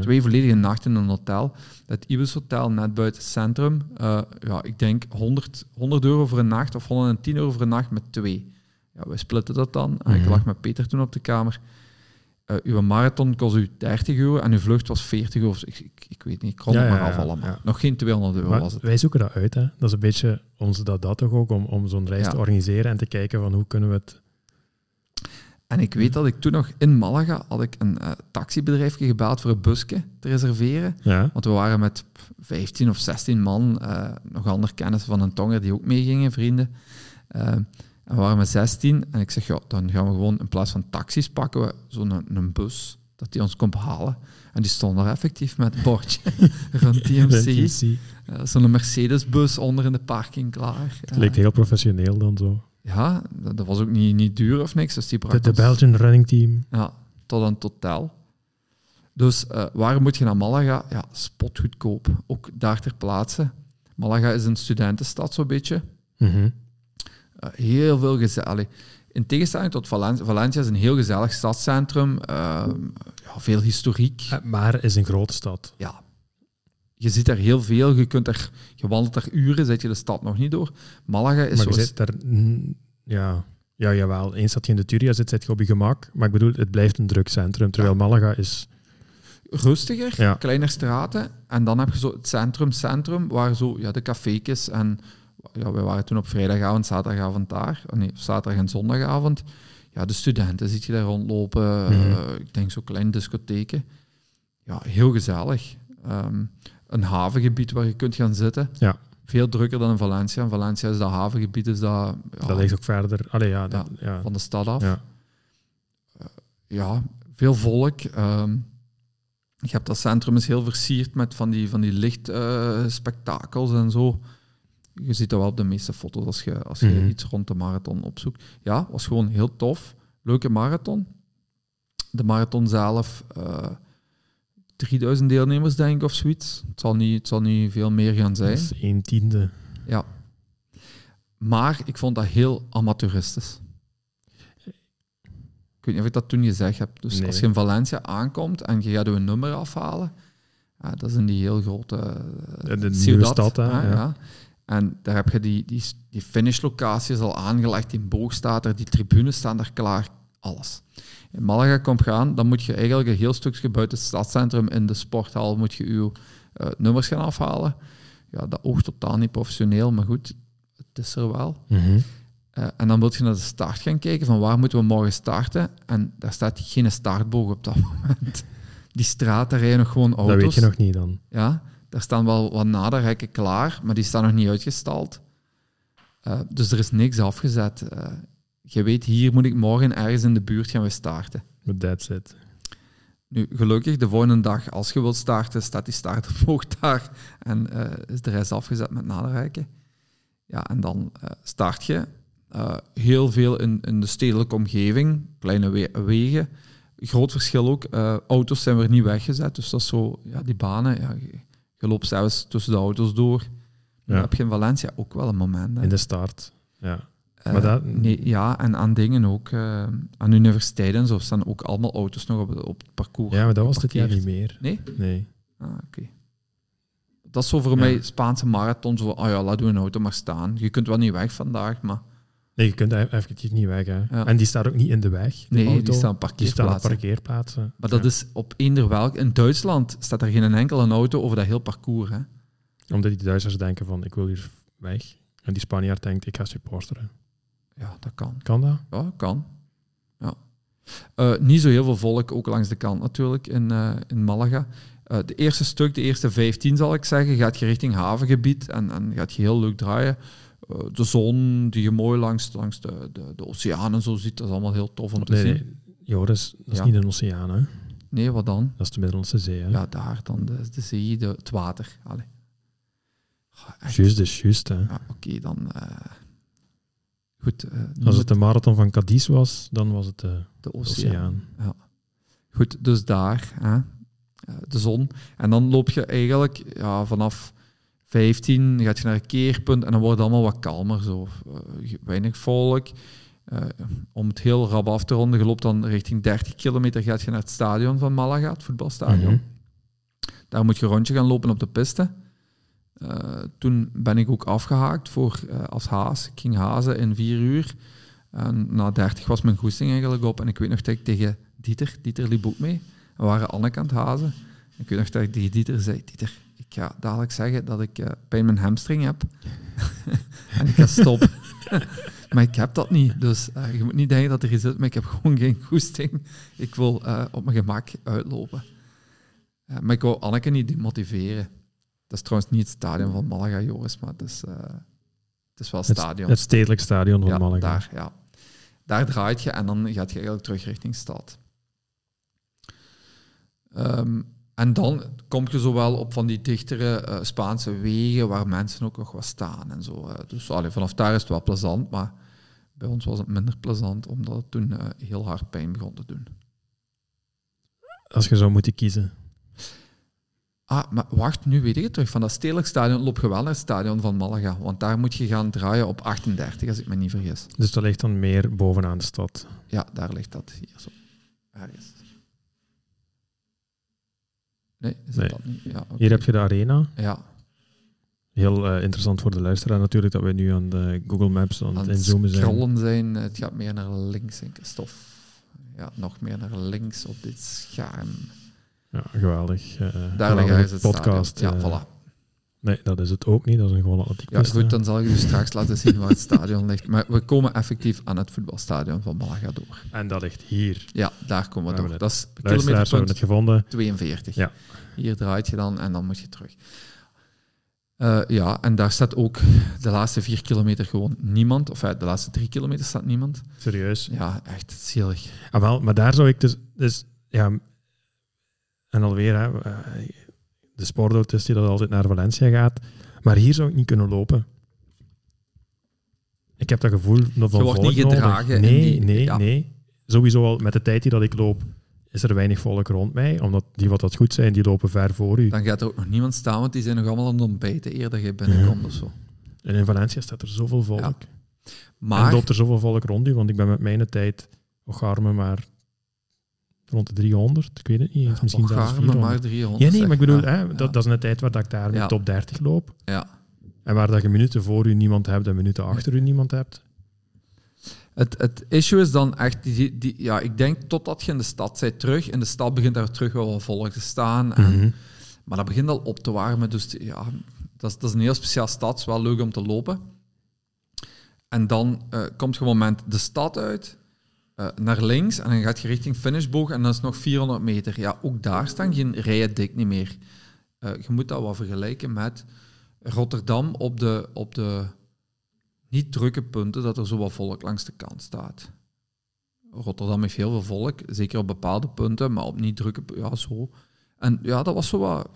S2: Twee volledige nachten in een hotel. Dat Ibis Hotel net buiten het centrum. Eh, ja, ik denk 100, 100 euro voor een nacht of 110 euro voor een nacht met twee. Ja, we splitten dat dan. En Ik
S1: Mhm.
S2: lag met Peter toen op de kamer. Eh, uw marathon kost u 30 euro en uw vlucht was 40 euro. Ik, ik, ik weet niet, ik kon
S1: Ja,
S2: het maar
S1: ja,
S2: af
S1: ja,
S2: allemaal.
S1: ja.
S2: Nog geen 200 euro
S1: Maar
S2: was het.
S1: wij zoeken dat uit. Hè? Dat is een beetje onze dat, dat toch ook, om, om zo'n reis
S2: Ja.
S1: te organiseren en te kijken van hoe kunnen we het...
S2: En ik
S1: Mhm.
S2: weet dat ik toen nog in Malaga had ik een eh, taxibedrijfje gebeld voor een busje te reserveren.
S1: Ja,
S2: Want we waren met 15 of 16 man, eh, nog andere kennissen van een tonger die ook meegingen, vrienden. Eh, en we waren met 16 en ik zeg, ja, dan gaan we gewoon in plaats van taxis pakken we zo'n een, bus, dat die ons komt halen. En die stond daar effectief met het bordje rond TMC.
S1: TMC.
S2: Eh, zo'n Mercedes-bus onder in de parking klaar. Eh,
S1: Het leek heel professioneel dan zo.
S2: ja, dat, dat was ook niet, niet duur of niks, dus die bracht
S1: De, de
S2: ons-
S1: Belgian Running Team.
S2: ja, tot een totaal. Dus eh, waar moet je naar Malaga? Ja, spotgoedkoop. Ook daar ter plaatse. Malaga is een studentenstad, zo'n beetje.
S1: Mhm.
S2: Eh, heel veel gezellig. In tegenstelling tot Valencia. Valencia is een heel gezellig stadscentrum. ehm, ja, veel historiek.
S1: Eh, Maar is een grote stad.
S2: Ja. Je ziet daar heel veel. Je, kunt er, je wandelt daar uren, zet je de stad nog niet door. Malaga is
S1: maar je
S2: zo'n-
S1: zit daar... mm, Ja, ja, jawel. Eens dat je in de Turia zit, zit je op je gemak. Maar ik bedoel, het blijft een druk centrum. Terwijl Malaga is...
S2: rustiger,
S1: Ja.
S2: kleiner straten. En dan heb je zo het centrum, centrum, waar zo ja, de cafékes en... Ja, we waren toen op vrijdagavond, zaterdagavond daar. Oh nee, zaterdag en zondagavond. Ja, de studenten ziet je daar rondlopen.
S1: Mhm.
S2: eh, ik denk zo kleine discotheken. Ja, heel gezellig. Ehm, een havengebied waar je kunt gaan zitten.
S1: Ja.
S2: Veel drukker dan in Valencia. In Valencia is dat havengebied is dat, ja,
S1: Dat ligt ook verder... Allee, ja. Dat, ja.
S2: van de stad af.
S1: Ja.
S2: Eh, ja, veel volk. ehm, je hebt dat centrum is heel versierd met van die, van die lichtspectakels en zo. Je ziet dat wel op de meeste foto's als je, als je
S1: Mhm.
S2: iets rond de marathon opzoekt. Ja, was gewoon heel tof. Leuke marathon. De marathon zelf, eh 3000 deelnemers denk ik of zoiets. Het zal niet, het zal niet veel meer gaan zijn.
S1: Dat is een tiende.
S2: Maar ik vond dat heel amateuristisch. Ik weet niet of ik dat toen gezegd heb. Dus
S1: Nee.
S2: als je in Valencia aankomt en je gaat je nummer afhalen, ja, dat is in die heel grote eh,
S1: De- de nieuwe
S2: ciudad,
S1: stad, hè,
S2: hè,
S1: ja.
S2: Ah, En daar heb je die, die, die finishlocatie is al aangelegd, die boog staat er, die tribunes staan daar klaar, alles. In Malaga komt gaan, dan moet je eigenlijk een heel stukje buiten het stadscentrum in de sporthal moet je je eh, nummers gaan afhalen. Ja, dat oogt totaal niet professioneel, maar goed, het is er wel.
S1: Mhm.
S2: Eh, en dan wil je naar de start gaan kijken van waar moeten we morgen starten. En daar staat geen startboog op dat moment. Die straat, daar rijden nog gewoon auto's.
S1: Dat weet je nog niet dan.
S2: Ja, daar staan wel wat naderhekken klaar, maar die staan nog niet uitgestald. Eh, dus er is niks afgezet. Eh, je weet, hier moet ik morgen ergens in de buurt gaan we starten.
S1: But that's it.
S2: Nu, gelukkig, de volgende dag, als je wilt starten, staat die startboog daar en eh, is de rest afgezet met naderhekken. Ja, en dan eh, start je. Eh, heel veel in, in de stedelijke omgeving, kleine we- wegen. Groot verschil ook, eh, auto's zijn weer niet weggezet, dus dat is zo, ja, die banen, ja, je, je loopt zelfs tussen de auto's door.
S1: Ja.
S2: Dan heb je in Valencia ook wel een moment. hè.
S1: In de start. Ja.
S2: Eh,
S1: Maar dat-
S2: nee, ja, en aan dingen ook, eh, aan universiteiten en zo, staan ook allemaal auto's nog op, op het parcours.
S1: ja, maar dat was dit jaar niet
S2: Geparkeerd.
S1: meer.
S2: Nee?
S1: Nee.
S2: Ah, oké. Dat is zo voor
S1: Ja.
S2: mij Spaanse marathon. Zo, ah ja, laat doen een auto maar staan. Je kunt wel niet weg vandaag, maar
S1: Nee, je kunt e- effectief niet weg. Hè.
S2: Ja.
S1: En die staat ook niet in de weg. De
S2: nee,
S1: auto.
S2: die staan
S1: Die
S2: parkeerplaatsen.
S1: staan op parkeerplaatsen.
S2: Maar dat
S1: Ja.
S2: is op eender welk. In Duitsland staat er geen enkele auto over dat heel parcours. Hè?
S1: Omdat die Duitsers denken van, ik wil hier weg. En die Spanjaard denkt, ik ga supporteren.
S2: Ja, dat kan.
S1: Kan dat?
S2: Ja, kan. Ja. Eh, niet zo heel veel volk, ook langs de kant natuurlijk, in, eh, in Malaga. Eh, de eerste stuk, de eerste 15 zal ik zeggen, gaat je richting havengebied en, en gaat je heel leuk draaien. Eh, de zon die je mooi langs, langs de, de, de oceanen zo ziet, dat is allemaal heel tof om te
S1: Nee,
S2: zien.
S1: nee. Joris, dat is
S2: Ja.
S1: niet een oceaan, hè.
S2: Nee, wat dan?
S1: Dat is de Middellandse Zee, hè.
S2: Ja, daar dan de, de zee, de, het water. Allee. Oh, echt.
S1: Juist is juist, hè.
S2: Ja, Oké, dan... eh, goed, eh, noem
S1: Als het
S2: het
S1: de marathon van Cadiz was, dan was het de
S2: de oceaan.
S1: oceaan.
S2: Goed, dus daar, hè, eh, de zon. En dan loop je eigenlijk ja, vanaf 15, gaat je naar een keerpunt en dan wordt het allemaal wat kalmer. Zo. Eh, weinig volk. Eh, om het heel rap af te ronden, je loopt dan richting 30 kilometer, gaat je naar het stadion van Malaga, het voetbalstadion.
S1: Mhm.
S2: Daar moet je een rondje gaan lopen op de piste. Eh, toen ben ik ook afgehaakt voor, eh, als haas. Ik ging hazen in vier uur. En na 30 was mijn goesting eigenlijk op. En ik weet nog dat ik tegen Dieter, Dieter liep ook mee. We waren Anneke aan het hazen. Ik weet nog dat ik tegen Dieter zei, Dieter, ik ga dadelijk zeggen dat ik eh, pijn in mijn hamstring heb. en ik ga stoppen. maar ik heb dat niet. Dus eh, je moet niet denken dat er iets is, maar ik heb gewoon geen goesting. Ik wil eh, op mijn gemak uitlopen. Eh, maar ik wou Anneke niet demotiveren. Dat is trouwens niet het stadion van Malaga, Joris, maar het is, eh, het is wel het stadion.
S1: Het stedelijk stadion van
S2: ja,
S1: Malaga.
S2: Daar, ja. daar draait je en dan gaat je eigenlijk terug richting stad. Ehm, en dan kom je zowel op van die dichtere eh, Spaanse wegen waar mensen ook nog wat staan en zo. eh. dus allee, vanaf daar is het wel plezant, maar bij ons was het minder plezant omdat het toen eh, heel hard pijn begon te doen.
S1: Als je zou moeten kiezen.
S2: Ah, maar wacht, nu weet ik het terug. Van dat stedelijk stadion loop je wel naar het stadion van Malaga. Want daar moet je gaan draaien op 38, als ik me niet vergis.
S1: Dus dat ligt dan meer bovenaan de stad.
S2: Ja, daar ligt dat. Hier zo. Ergens. Nee, is het
S1: Nee.
S2: dat niet? Ja, oké.
S1: Hier heb je de arena.
S2: Ja,
S1: Heel eh, interessant voor de luisteraar natuurlijk, dat we nu aan de Google Maps aan
S2: aan
S1: het
S2: het
S1: inzoomen zijn.
S2: scrollen zijn. Het gaat meer naar links, denk ik. Stof. Ja, nog meer naar links op dit scherm.
S1: Ja, geweldig. eh,
S2: Daar
S1: geweldige
S2: liggen is het
S1: podcast.
S2: stadion.
S1: eh, dus
S2: Ja, voilà.
S1: Nee, dat is het ook niet. Dat is een gewone atletiek.
S2: Ja, goed, dan zal ik u straks laten zien waar het stadion ligt. Maar we komen effectief aan het voetbalstadion van Malaga door.
S1: En dat ligt hier.
S2: Ja, daar komen
S1: Waar
S2: we
S1: we
S2: door.
S1: het-
S2: Dat is
S1: Luisteraars hebben het
S2: kilometerpunt
S1: gevonden.
S2: 42.
S1: Ja.
S2: Hier draait je dan en dan moet je terug. Eh, ja, en daar staat ook de laatste vier kilometer gewoon niemand. Of ja, de laatste drie kilometer staat niemand.
S1: Serieus.
S2: Ja, echt zielig.
S1: Ah, wel, maar daar zou ik dus... dus ja, en alweer, hè, de sportautist die dat altijd naar Valencia gaat. Maar hier zou ik niet kunnen lopen. Ik heb dat gevoel van
S2: Je wordt niet
S1: volk nodig.
S2: gedragen in
S1: Nee,
S2: die-
S1: nee,
S2: ja.
S1: nee. Sowieso al met de tijd die dat ik loop, is er weinig volk rond mij. Omdat die wat dat goed zijn, die lopen ver voor u.
S2: Dan gaat er ook nog niemand staan, want die zijn nog allemaal aan het ontbijten eer dat je binnenkomt of zo.
S1: En in Valencia staat er zoveel volk.
S2: Ja.
S1: En
S2: Maar
S1: loopt er zoveel volk rond u, want ik ben met mijn tijd, och arme, maar rond de 300. Ik weet het niet, eens, misschien
S2: Och,
S1: zelfs
S2: arme,
S1: 400.
S2: maar 300.
S1: ja, nee,
S2: zeg
S1: maar ik bedoel, hè,
S2: Ja.
S1: dat, dat is een tijd waar dat ik daar met
S2: Ja.
S1: top 30 loop.
S2: Ja.
S1: En waar dat je minuten voor u niemand hebt en minuten achter u niemand hebt.
S2: Het, het issue is dan echt, die, die, ja, ik denk totdat je in de stad bent terug, in de stad begint daar terug wel wat volk te staan. En,
S1: Mhm.
S2: Maar dat begint al op te warmen, dus die- ja, dat is, dat is een heel speciaal stad, het is wel leuk om te lopen. En dan eh, komt je moment de stad uit, eh, naar links, en dan gaat je richting finishboog en dan is het nog 400 meter. Ja, ook daar staan geen rijen dik niet meer. Eh, je moet dat wel vergelijken met Rotterdam op de, op de niet drukke punten, dat er zo wat volk langs de kant staat. Rotterdam heeft heel veel volk, zeker op bepaalde punten, maar op niet drukke pu- ja, zo. En ja, dat was zo wat,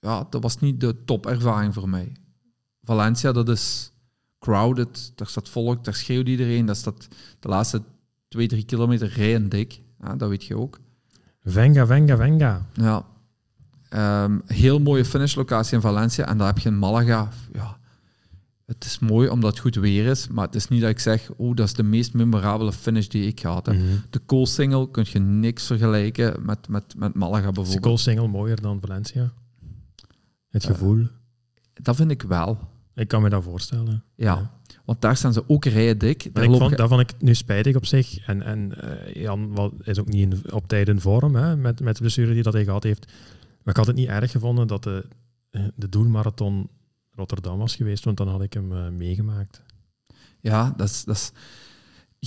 S2: ja, dat was niet de topervaring voor mij. Valencia, dat is crowded, daar staat volk, daar schreeuwt iedereen, dat staat de laatste twee, drie kilometer rijen dik, ja, dat weet je ook.
S1: Venga, venga, venga.
S2: Ja. Ehm, heel mooie finishlocatie in Valencia. En daar heb je in Malaga. Ja, het is mooi omdat het goed weer is. Maar het is niet dat ik zeg, oh, dat is de meest memorabele finish die ik gehad heb.
S1: Mhm.
S2: De Cool Single kun je niks vergelijken met, met, met Malaga
S1: Is de
S2: bijvoorbeeld.
S1: goal single mooier dan Valencia? Het
S2: Eh.
S1: gevoel.
S2: Dat vind ik wel.
S1: ik kan me dat voorstellen.
S2: Ja. Want daar staan ze ook rijen dik.
S1: Maar
S2: Daar
S1: ik
S2: loop
S1: vond,
S2: je-
S1: dat vond ik nu spijtig op zich. En, en eh, Jan wa- is ook niet in, op tijd in vorm hè, met, met de blessure die dat hij gehad heeft. Maar ik had het niet erg gevonden dat de, de doelmarathon Rotterdam was geweest, want dan had ik hem eh, meegemaakt.
S2: Ja, dat is, dat is...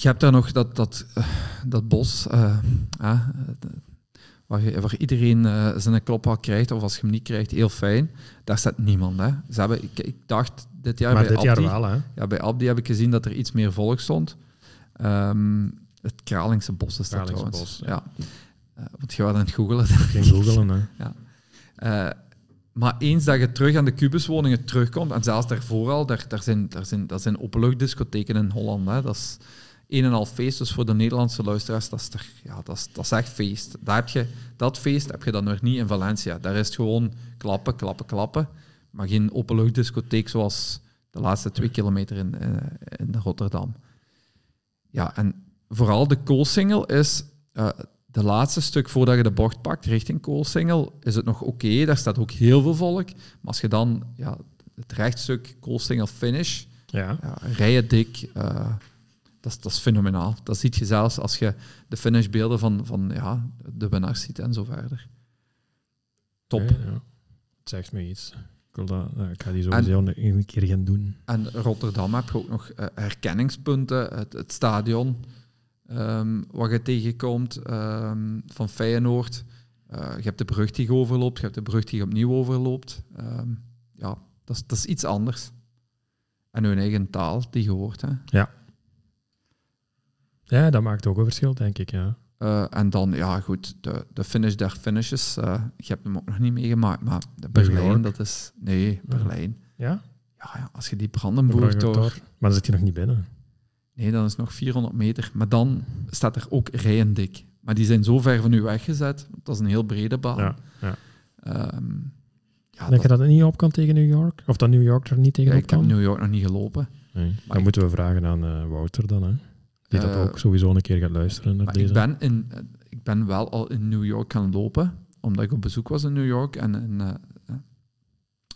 S2: Je hebt daar nog dat, dat, eh, dat bos eh, ah, eh, waar, je- waar iedereen eh, zijn klop al krijgt, of als je hem niet krijgt, heel fijn. Daar staat niemand. Hè. Ze hebben, ik, ik dacht dit jaar
S1: maar
S2: bij
S1: dit jaar
S2: Abdi-
S1: wel, hè?
S2: Ja, bij Abdi heb ik gezien dat er iets meer volk stond. Ehm, het Kralingse bos is dat
S1: Kralingse
S2: trouwens.
S1: bos,
S2: ja. Eh, want je was aan het googelen.
S1: Geen googelen, hè?
S2: Eh, maar eens dat je terug aan de kubuswoningen terugkomt, en zelfs daarvoor al, daar, daar zijn, daar zijn, dat zijn openluchtdiscotheken in Holland. Hè. Dat is een en al feest, dus voor de Nederlandse luisteraars, dat is, er, ja, dat is, dat is echt feest. Daar heb je, dat feest heb je dan nog niet in Valencia. Daar is het gewoon klappen, klappen, klappen. Maar geen openluchtdiscotheek zoals de laatste twee kilometer in, eh, in Rotterdam. Ja, en vooral de koolsingel is... eh, de laatste stuk voordat je de bocht pakt richting Koolsingel is het nog oké. Daar staat ook heel veel volk. Maar als je dan ja, het rechtstuk Koolsingel finish,
S1: Ja.
S2: ja, rijen dik, eh, dat, is- dat is fenomenaal. Dat ziet je zelfs als je de finishbeelden van, van ja, de winnaars ziet en zo verder. Top.
S1: Oké, ja. Het zegt me iets. Ik, wil dat, eh, ik ga die
S2: En-
S1: sowieso een- een keer gaan doen.
S2: En Rotterdam heb je ook nog eh, herkenningspunten. Het, het stadion ehm wat je tegenkomt ehm, van Feyenoord. Eh, je hebt de brug die je overloopt. Je hebt de brug die je opnieuw overloopt. Ehm, ja, dat is, dat is iets anders. En hun eigen taal die je hoort. Hè.
S1: Ja, dat maakt ook een verschil, denk ik. Ja.
S2: Eh, en dan, ja goed, de, de finish der finishes. eh je hebt hem ook nog niet meegemaakt, maar de
S1: New
S2: Berlijn,
S1: York.
S2: dat is... Nee, Berlijn.
S1: ja?
S2: Ja, ja, als je die
S1: Brugge
S2: Brandenburg door...
S1: door. Maar dan zit hij nog niet binnen.
S2: Nee, dan is het nog 400 meter. Maar dan staat er ook rijen dik. Maar die zijn zo ver van u weggezet. want Dat is een heel brede baan.
S1: Ja, ja.
S2: Ehm, ja,
S1: Denk je
S2: dat-
S1: Ah, dat het niet op kan tegen New York? Of dat New York er niet tegen
S2: ja,
S1: op
S2: ik heb
S1: kan?
S2: New York nog niet gelopen.
S1: Nee.
S2: Maar ik-
S1: Dan moeten we vragen aan eh, Wouter dan, hè? Die dat
S2: Eh,
S1: ook sowieso een keer gaat luisteren naar
S2: Maar
S1: deze.
S2: ik ben, in, eh, ik ben wel al in New York gaan lopen. Omdat ik op bezoek was in New York. En in, eh, eh,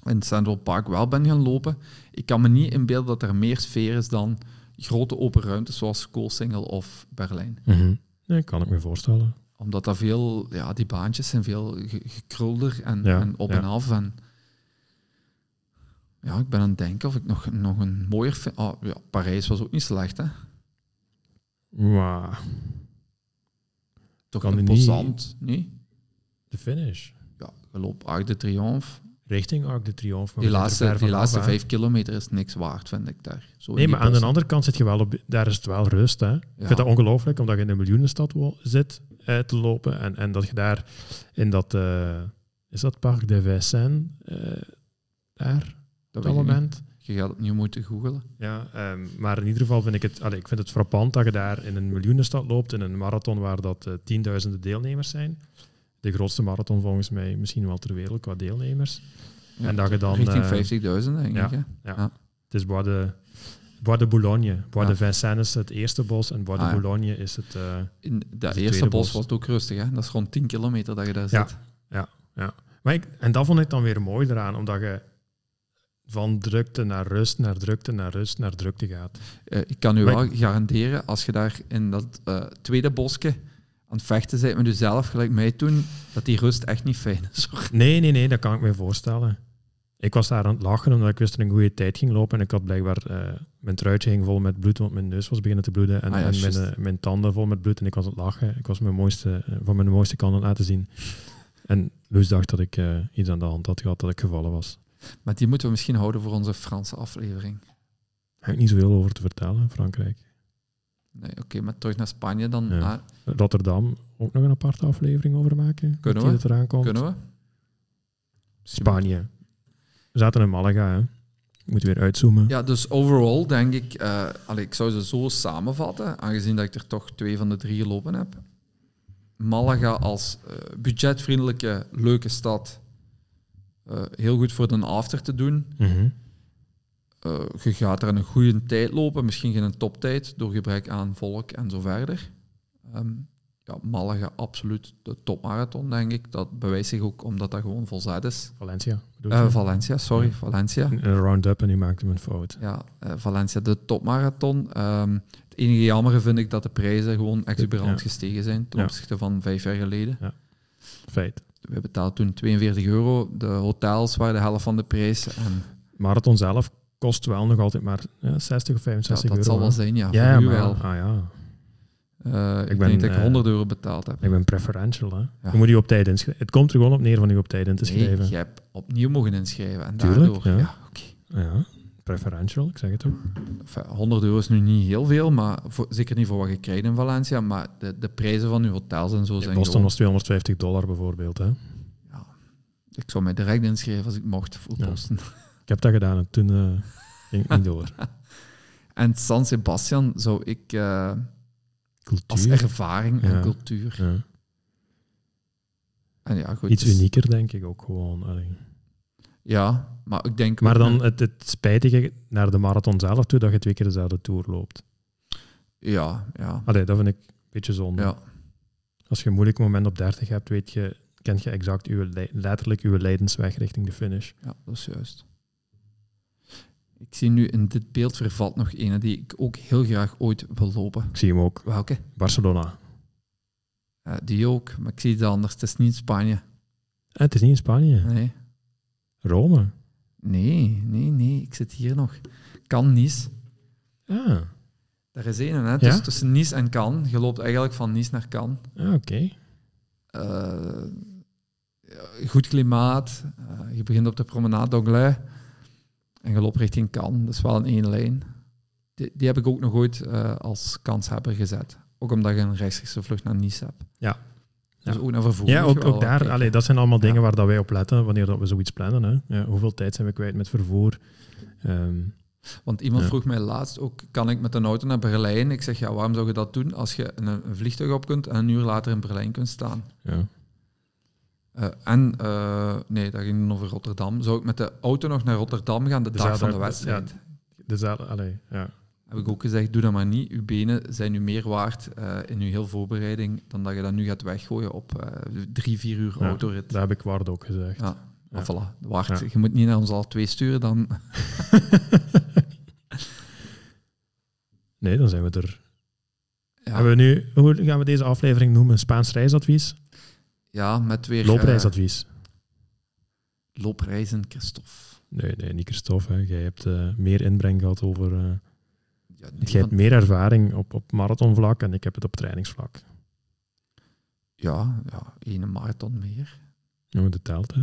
S2: in Central Park wel ben gaan lopen. Ik kan me niet inbeelden dat er meer sfeer is dan grote open ruimtes zoals Koolsingel of Berlijn.
S1: Mhm. Nee, kan ik me voorstellen.
S2: Omdat dat veel, ja, die baantjes zijn veel ge- gekrulder en,
S1: Ja,
S2: en op
S1: ja.
S2: en af. En ja, ik ben aan het denken of ik nog, nog een mooier vind. Oh, ja, Parijs was ook niet slecht, hè?
S1: Maar
S2: Toch
S1: Kan
S2: een
S1: die niet-
S2: Pozant, nee?
S1: de finish.
S2: Ja, je loopt Arc de Triomphe.
S1: richting Arc de Triomphe. maar
S2: Die
S1: we zijn er
S2: laatste,
S1: ver
S2: die
S1: vanaf,
S2: laatste
S1: hè.
S2: vijf kilometer is niks waard, vind ik daar. Zo in
S1: Nee,
S2: die
S1: maar aan de
S2: bossen.
S1: andere kant zit je wel op... Daar is het wel rust, hè. Ik vind dat ongelooflijk, omdat je in een miljoenenstad wo- zit eh, te lopen. En, en dat je daar in dat... eh, is dat Parc de Vincennes? eh, daar, op dat
S2: dat weet ik niet.
S1: moment?
S2: Je gaat opnieuw moeten googelen.
S1: Ja, ehm, maar in ieder geval vind ik het, allee, ik vind het frappant dat je daar in een miljoenenstad loopt, in een marathon waar dat eh, tienduizenden deelnemers zijn. De grootste marathon volgens mij misschien wel ter wereld qua deelnemers.
S2: Ja,
S1: en dat je dan...
S2: richting
S1: eh,
S2: 50.000, denk
S1: ja.
S2: ik. hè.
S1: Het is Bois de, Bois de Boulogne. Bois
S2: Ja.
S1: de Vincennes is het eerste bos en Bois
S2: Ah,
S1: de
S2: ja.
S1: Boulogne is het... eh,
S2: In dat
S1: de
S2: eerste
S1: tweede
S2: bos
S1: bos.
S2: was het ook rustig. Hè? Dat is rond 10 kilometer dat je daar
S1: Ja.
S2: zit.
S1: Maar ik, en dat vond ik dan weer mooi eraan, omdat je van drukte naar rust, naar drukte, naar rust, naar drukte gaat.
S2: Eh, ik kan u
S1: Maar
S2: wel garanderen, als je daar in dat eh, tweede bosje aan het vechten bent met jezelf, gelijk mij toen, dat die rust echt niet fijn is. hoor.
S1: Nee, nee, nee, dat kan ik me voorstellen. Ik was daar aan het lachen omdat ik wist dat ik een goede tijd ging lopen. En ik had blijkbaar... eh, mijn truitje ging vol met bloed, want mijn neus was beginnen te bloeden. En,
S2: Ah ja,
S1: en mijn,
S2: juist.
S1: eh, mijn tanden vol met bloed. En ik was aan het lachen. Ik was mijn mooiste, eh, van mijn mooiste kant aan het laten zien. En Loes dacht dat ik eh, iets aan de hand had gehad, dat ik gevallen was.
S2: Maar die moeten we misschien houden voor onze Franse aflevering.
S1: Daar heb ik niet zoveel over te vertellen, Frankrijk.
S2: Nee, Oké, maar terug naar Spanje dan.
S1: Ja.
S2: Ah,
S1: Rotterdam, ook nog een aparte aflevering over maken.
S2: Kunnen
S1: die
S2: we?
S1: dat eraan komt.
S2: kunnen we?
S1: Spanje. We zaten in Malaga, hè. Ik moet weer uitzoomen.
S2: Ja, dus overall denk ik, eh allee, ik zou ze zo samenvatten, aangezien dat ik er toch twee van de drie gelopen heb. Malaga als eh, budgetvriendelijke, leuke stad. Eh, heel goed voor de after te doen.
S1: Mhm.
S2: Eh, je gaat er in een goede tijd lopen, misschien geen toptijd, door gebrek aan volk en zo verder. Ehm, ja, Malaga, absoluut de topmarathon, denk ik. Dat bewijst zich ook omdat dat gewoon volzet is.
S1: Valencia. bedoel
S2: Eh,
S1: je?
S2: Valencia, sorry, Valencia.
S1: Een round-up en u maakte me een fout.
S2: Ja, eh, Valencia, de topmarathon. Ehm, het enige jammer vind ik dat de prijzen gewoon exuberant
S1: Ja.
S2: gestegen zijn ten
S1: Ja.
S2: opzichte van vijf jaar geleden.
S1: Feit.
S2: We betaalden toen 42 euro. De hotels waren de helft van de prijs. En
S1: Marathon zelf kost wel nog altijd maar ja, 60 of
S2: ja,
S1: 65
S2: dat
S1: euro.
S2: zal wel
S1: hè.
S2: zijn, ja.
S1: Ja,
S2: voor u
S1: maar,
S2: wel.
S1: Ah, ja.
S2: Eh, ik
S1: ben,
S2: denk dat ik
S1: eh,
S2: 100 euro betaald heb.
S1: Ik ben preferential. Hè.
S2: Ja.
S1: Je moet je op tijd inschrijven. Het komt er gewoon op neer van je op tijd in te schrijven.
S2: Nee, je hebt opnieuw mogen inschrijven. En
S1: Tuurlijk,
S2: daardoor,
S1: ja.
S2: ja, oké.
S1: Ja, preferential, ik zeg het ook.
S2: Enfin, 100 euro is nu niet heel veel, maar voor, zeker niet voor wat je krijgt in Valencia. Maar de, de prijzen van je hotels en zo
S1: In
S2: zijn
S1: Boston
S2: gewoon...
S1: was 250 dollar bijvoorbeeld. Hè.
S2: Ja, ik zou mij direct inschrijven als ik mocht voor
S1: Ja.
S2: Boston.
S1: Ik heb dat gedaan en toen eh, ging het niet door.
S2: En San Sebastian zou ik eh, als
S1: Cultuur.
S2: ervaring
S1: Ja.
S2: en cultuur...
S1: Ja.
S2: En ja, goed,
S1: Iets
S2: dus-
S1: unieker, denk ik ook gewoon. Allee.
S2: Ja, maar ik denk...
S1: Maar
S2: ook-
S1: dan het, het spijtige naar de marathon zelf toe dat je twee keer dezelfde tour loopt.
S2: Ja, ja.
S1: Allee, dat vind ik een beetje zonde.
S2: ja.
S1: Als je een moeilijk moment op 30 hebt, weet je, kent je exact uw, le- letterlijk uw leidensweg richting de finish.
S2: Ja, dat is juist. Ik zie nu in dit beeld vervalt nog ene die ik ook heel graag ooit wil lopen.
S1: Ik zie hem ook.
S2: Welke?
S1: Barcelona.
S2: Eh, die ook, maar ik zie het anders. Het is niet Spanje.
S1: En het is niet in Spanje.
S2: Nee.
S1: Rome.
S2: Nee, nee, nee. Ik zit hier nog. Cannes, Nice.
S1: Ah,
S2: Daar is één, hè. Dus
S1: Ja?
S2: tussen Nice en Cannes. Je loopt eigenlijk van Nice naar Cannes.
S1: ah, oké.
S2: Eh, ja, goed klimaat. Eh, je begint op de promenade d'Anglais. En je loopt richting Cannes. Dat is wel in één lijn. Die, die heb ik ook nog ooit eh, als kanshebber gezet. Ook omdat je een rechtstreekse vlucht naar Nice hebt.
S1: Ja.
S2: Dus
S1: Ja.
S2: ook naar vervoer.
S1: Ja,
S2: moet je
S1: ook,
S2: wel
S1: ook daar.
S2: kijken.
S1: Allee, dat zijn allemaal
S2: Ja.
S1: dingen waar dat wij op letten wanneer dat we zoiets plannen. Hè. Ja, hoeveel tijd zijn we kwijt met vervoer? Ehm,
S2: Want iemand
S1: Ja.
S2: vroeg mij laatst ook, kan ik met een auto naar Berlijn? Ik zeg, ja, waarom zou je dat doen als je in een, een vliegtuig op kunt en een uur later in Berlijn kunt staan?
S1: ja.
S2: Eh, en, eh, nee, dat ging dan over Rotterdam. Zou ik met de auto nog naar Rotterdam gaan de
S1: Dus
S2: dag
S1: ja,
S2: van de
S1: daar-
S2: wedstrijd?
S1: Dus dat, allee, ja.
S2: Heb ik ook gezegd, doe dat maar niet. Uw benen zijn nu meer waard eh, in uw heel voorbereiding dan dat je dat nu gaat weggooien op eh, drie, vier uur
S1: Ja,
S2: autorit.
S1: Dat heb ik Ward ook gezegd.
S2: Ja.
S1: ja.
S2: Ah, voilà, waard.
S1: Ja.
S2: Je moet niet naar ons alle twee sturen, dan...
S1: nee, dan zijn we er.
S2: Ja,
S1: Hebben Ah, we nu, hoe gaan we deze aflevering noemen? Spaans reisadvies?
S2: ja met weer... eh,
S1: Lopreisadvies?
S2: loopreizen, Christophe.
S1: Nee, nee, niet Christophe. hè. Jij hebt eh, meer inbreng gehad over... eh,
S2: Ja, nee,
S1: jij hebt meer ervaring op, op marathonvlak en ik heb het op trainingsvlak.
S2: Ja, ja, ene marathon meer.
S1: Ja, maar dat telt, hè.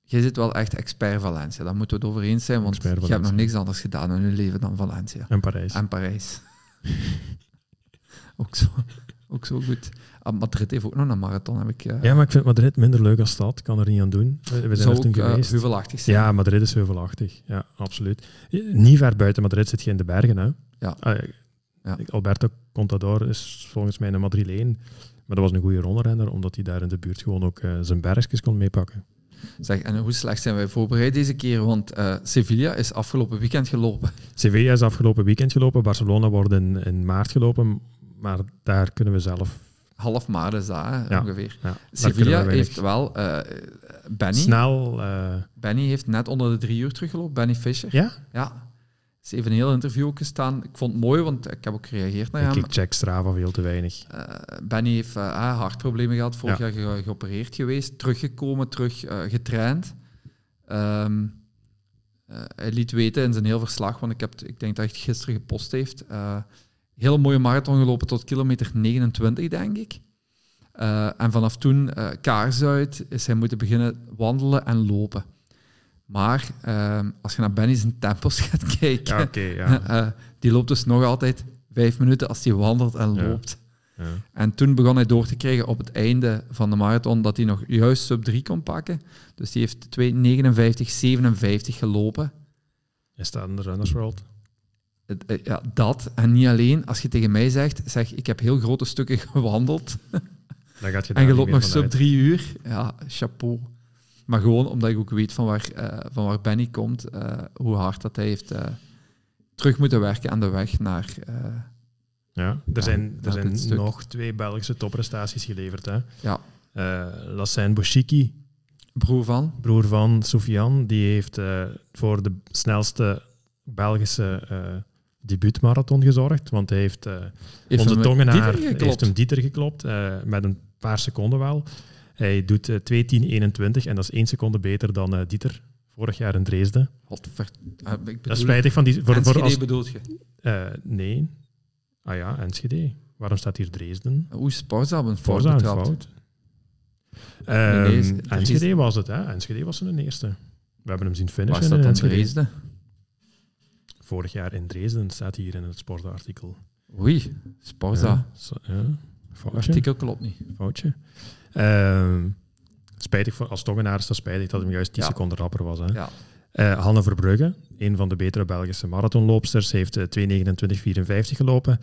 S2: Jij zit wel echt expert Valencia, daar moeten we het over eens zijn, want je
S1: Expert
S2: hebt
S1: Valencia.
S2: nog niks anders gedaan in je leven dan Valencia.
S1: En Parijs.
S2: En Parijs. ook, zo, ook zo goed. Ah, Madrid heeft ook nog een marathon, heb ik. eh,
S1: ja, maar ik vind Madrid minder leuk als stad. Ik kan er niet aan doen. We, we zijn
S2: zou
S1: er toen
S2: ook eh,
S1: geweest.
S2: heuvelachtig zijn.
S1: ja, Madrid is heuvelachtig. Ja, absoluut. Eh, Niet ver buiten Madrid zit je in de bergen. Hè?
S2: Ja.
S1: Ah,
S2: Ja.
S1: Alberto Contador is volgens mij een Madrileen. Maar dat was een goede rondrenner, omdat hij daar in de buurt gewoon ook eh, zijn bergjes kon meepakken.
S2: Zeg, en hoe slecht zijn wij voorbereid deze keer? Want eh, Sevilla is afgelopen weekend gelopen.
S1: Sevilla is afgelopen weekend gelopen. Barcelona wordt in, in maart gelopen. Maar daar kunnen we zelf
S2: Half maart is dat, hè,
S1: Ja.
S2: ongeveer.
S1: ja, daar kunnen
S2: Sevilla
S1: we weinig.
S2: heeft wel... eh, Benny,
S1: snel... eh,
S2: Benny heeft net onder de drie uur teruggelopen, Benny Fischer.
S1: ja?
S2: Ja. Ze heeft een heel interview ook gestaan. Ik vond het mooi, want ik heb ook gereageerd naar
S1: Ik,
S2: hem.
S1: ik check Strava veel te weinig.
S2: Eh, Benny heeft eh, ah, hartproblemen gehad, vorig
S1: Ja.
S2: jaar ge- geopereerd geweest, teruggekomen, terug eh, getraind. Ehm, eh, hij liet weten in zijn heel verslag, want ik, heb, t- ik denk dat hij het gisteren gepost heeft. eh, heel mooie marathon gelopen tot kilometer 29, denk ik. Eh, en vanaf toen, eh, kaars uit, is hij moeten beginnen wandelen en lopen. Maar ehm, als je naar Benny's tempos gaat kijken,
S1: Ja, oké. ja.
S2: eh, die loopt dus nog altijd vijf minuten als hij wandelt en
S1: Ja.
S2: loopt.
S1: Ja.
S2: En toen begon hij door te krijgen op het einde van de marathon dat hij nog juist sub 3 kon pakken. Dus die heeft 2,59,57 gelopen.
S1: Hij staat in de Runners World.
S2: Het- eh, Ja, dat. En niet alleen als je tegen mij zegt, zeg ik heb heel grote stukken gewandeld
S1: Dan gaat je daar
S2: en je
S1: niet
S2: loopt
S1: meer
S2: nog sub
S1: vanuit.
S2: 3 uur. Ja, chapeau. Maar gewoon omdat ik ook weet van waar, eh, van waar Benny komt, eh, hoe hard dat hij heeft eh, terug moeten werken aan de weg naar... eh,
S1: Ja. Er
S2: Ja,
S1: zijn, er
S2: dat dit
S1: zijn
S2: stuk.
S1: nog twee Belgische topprestaties geleverd. Hè.
S2: Ja.
S1: Eh, Lassane Bouchiki,
S2: broer van.
S1: broer van Sofian, die heeft eh, voor de snelste Belgische eh debuutmarathon gezorgd. Want hij heeft... eh,
S2: Heeft
S1: Onze
S2: hem-
S1: tongenaar
S2: Dieter geklopt.
S1: heeft hem Dieter geklopt, eh, met een paar seconden wel. Hij doet eh, 2.10.21 en dat is één seconde beter dan eh, Dieter, vorig jaar in Dresden.
S2: Godver- eh,
S1: Dat
S2: ik bedoel,
S1: is spijtig van die... Voor, voor
S2: Enschede
S1: als,
S2: bedoelt je?
S1: eh, nee. Ah ja, Enschede. Waarom staat hier Dresden?
S2: Hoe is Sporza op een fout
S1: Forza een
S2: betrapt?
S1: fout.
S2: Nee, nee, is-
S1: Ehm,
S2: Dresden-
S1: Enschede was het, hè. Enschede was een eerste. We hebben hem zien
S2: Waar
S1: finishen
S2: staat
S1: in
S2: dan
S1: Enschede.
S2: Dresden?
S1: Vorig jaar in Dresden staat hier in het sportartikel.
S2: Oei, Sporza.
S1: Ja, zo- ja, foutje.
S2: Artikel klopt niet.
S1: foutje. Ehm, spijtig voor, als tongenaar is dat spijtig dat hem juist 10
S2: Ja.
S1: seconden rapper was. Hè?
S2: Ja.
S1: Eh, Hanne Verbrugge, een van de betere Belgische marathonloopsters, heeft eh, 2.29.54 gelopen.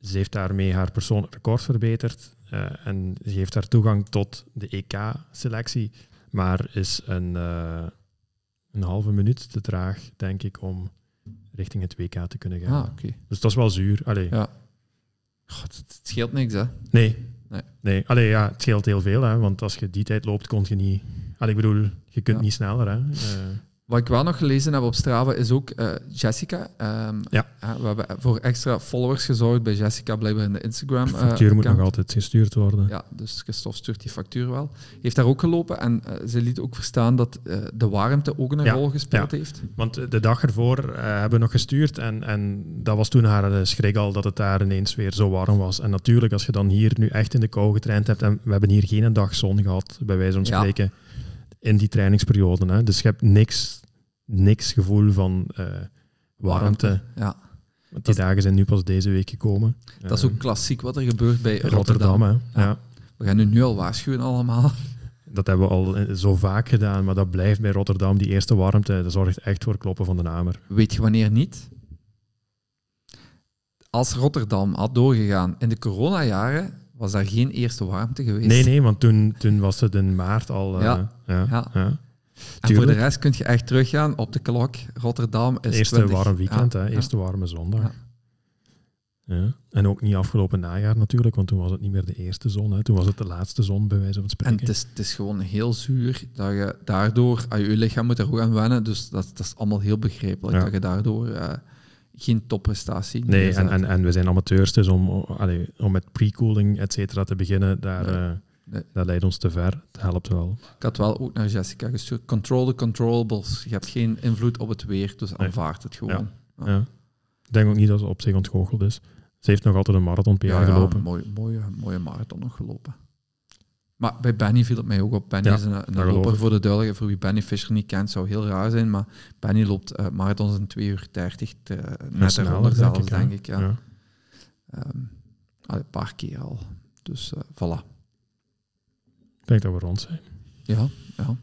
S1: Ze heeft daarmee haar persoonlijk record verbeterd eh, en ze heeft haar toegang tot de EK-selectie, maar is een, eh, een halve minuut te traag, denk ik, om richting het WK te kunnen gaan.
S2: Ah, oké.
S1: Dus dat is wel zuur. Allee,
S2: Ja. God, het het scheelt niks, hè.
S1: Nee.
S2: Nee.
S1: nee. Allee, ja, het scheelt heel veel, hè, want als je die tijd loopt, kon je niet... Allee, ik bedoel, je kunt
S2: Ja.
S1: niet sneller. Hè. Eh,
S2: Wat ik wel nog gelezen heb op Strava is ook eh, Jessica. Ehm,
S1: Ja.
S2: eh, we hebben voor extra followers gezorgd bij Jessica, blijkbaar in de Instagram.
S1: de
S2: eh,
S1: factuur moet
S2: account.
S1: nog altijd gestuurd worden.
S2: Ja, dus Christophe stuurt die factuur wel. Heeft daar ook gelopen en eh, ze liet ook verstaan dat eh, de warmte ook een
S1: Ja,
S2: rol gespeeld heeft.
S1: Want de dag ervoor eh, hebben we nog gestuurd en, en dat was toen haar eh, schrik al dat het daar ineens weer zo warm was. En natuurlijk, als je dan hier nu echt in de kou getraind hebt en we hebben hier geen dag zon gehad, bij wijze van
S2: Ja.
S1: spreken, in die trainingsperiode. Hè. Dus je hebt niks, niks gevoel van eh, warmte.
S2: Ja.
S1: Want die
S2: Dat-
S1: dagen zijn nu pas deze week gekomen. Eh,
S2: Dat is ook klassiek wat er gebeurt bij Rotterdam.
S1: Rotterdam, hè.
S2: Ja.
S1: Ja.
S2: We gaan nu, nu al waarschuwen allemaal.
S1: Dat hebben we al eh, zo vaak gedaan, maar dat blijft bij Rotterdam. Die eerste warmte, dat zorgt echt voor kloppen van de namer.
S2: Weet je wanneer niet? Als Rotterdam had doorgegaan in de coronajaren, was daar geen eerste warmte geweest.
S1: Nee, nee, want toen, toen was het in maart al... eh,
S2: Ja.
S1: ja,
S2: Ja.
S1: ja.
S2: en voor de
S1: tuurlijk.
S2: rest kun je echt teruggaan op de klok. Rotterdam is
S1: Eerste
S2: 20.
S1: warm weekend,
S2: Ja,
S1: hè.
S2: ja.
S1: Eerste warme zondag.
S2: Ja.
S1: Ja. En ook niet afgelopen najaar natuurlijk, want toen was het niet meer de eerste zon. Hè. Toen was het de laatste zon, bij wijze van
S2: En
S1: spreken.
S2: het is, het is gewoon heel zuur dat je daardoor, aan je lichaam moet er ook aan wennen, dus dat, dat is allemaal heel begrijpelijk
S1: Ja.
S2: dat je daardoor eh, geen topprestatie
S1: Nee, en,
S2: neerzet.
S1: en, en we zijn amateurs, dus om, o- allee, om met pre-cooling et cetera te beginnen, daar,
S2: Nee.
S1: eh,
S2: Nee.
S1: dat leidt ons te ver. Het helpt wel.
S2: Ik had wel ook naar Jessica gestuurd. Control the controllables. Je hebt geen invloed op het weer, dus
S1: Nee.
S2: aanvaard het gewoon.
S1: Ja. Ik denk ook niet dat ze op zich ontgoocheld is. Ze heeft nog altijd een marathon per jaar
S2: Ja, ja,
S1: gelopen.
S2: mooi- mooie, mooie marathon nog gelopen. Maar bij Benny viel het mij ook op. Benny
S1: Ja,
S2: is een, een
S1: dat geloof
S2: loper
S1: ik.
S2: voor de duidelijkheid. Voor wie Benny Fischer niet kent, zou heel raar zijn. Maar Benny loopt eh, marathons in 2 uur 30. Te, net
S1: sneller,
S2: daaronder
S1: denk
S2: zelfs,
S1: ik, hè?
S2: denk ik. Ja.
S1: Ja.
S2: Ehm, al een paar keer al. Dus eh, voilà.
S1: Ik denk dat we rond zijn.
S2: Ja, ja.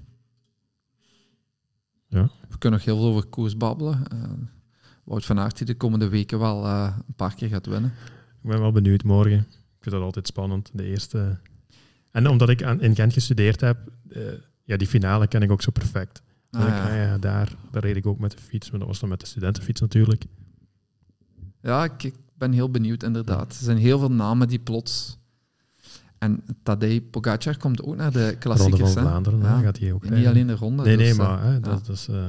S1: Ja.
S2: We kunnen nog heel veel over koers babbelen. Eh, Wout van Aert die de komende weken wel eh, een paar keer gaat winnen.
S1: Ik ben wel benieuwd morgen. Ik vind dat altijd spannend, de eerste. En omdat ik aan, in Gent gestudeerd heb, eh, ja, die finale ken ik ook zo perfect. Dan
S2: Ah,
S1: denk ik, ah ja, daar, daar reed ik ook met de fiets, maar dat was dan met de studentenfiets natuurlijk.
S2: Ja, ik, ik ben heel benieuwd inderdaad. Er zijn heel veel namen die plots... En Tadej Pogacar komt ook naar de
S1: Ronde van
S2: klassiekers. hè?
S1: Vlaanderen, hè,
S2: Ja.
S1: gaat hij ook
S2: Niet
S1: rijden.
S2: alleen de ronde.
S1: Nee,
S2: dus,
S1: nee,
S2: eh,
S1: maar hè, dat is... eh,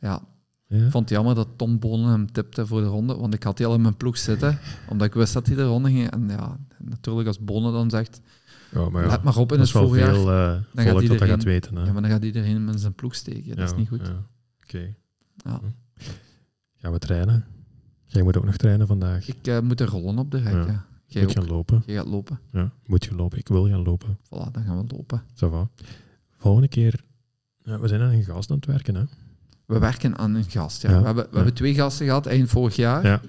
S2: ja,
S1: ja.
S2: ik vond het jammer dat Tom Bonen hem tipte voor de ronde, want ik had die al in mijn ploeg zitten, omdat ik wist dat hij de ronde ging. En ja, natuurlijk als Bonen dan zegt,
S1: Ja, maar ja,
S2: let maar op in
S1: dat
S2: het
S1: is wel
S2: voorjaar.
S1: veel eh,
S2: gaat
S1: volk dat dat
S2: iedereen-
S1: gaat weten. Hè.
S2: Ja, maar dan gaat iedereen hem in zijn ploeg steken. Dat
S1: Ja,
S2: is niet goed.
S1: ja. Oké. Hm.
S2: Ja.
S1: Gaan we trainen? Jij moet ook nog trainen vandaag.
S2: Ik eh, moet er rollen op de rek.
S1: Ja.
S2: Ja. Jij,
S1: moet
S2: ook.
S1: gaan lopen.
S2: Jij gaat lopen.
S1: Ja, moet je lopen. Ik wil gaan lopen.
S2: Voilà, dan gaan we lopen.
S1: Ça va. Volgende keer... Ja, we zijn aan een gast aan het werken, hè?
S2: We werken aan een gast. Ja.
S1: Ja,
S2: We, hebben, we
S1: ja.
S2: hebben twee gasten gehad eind vorig jaar.
S1: Ja.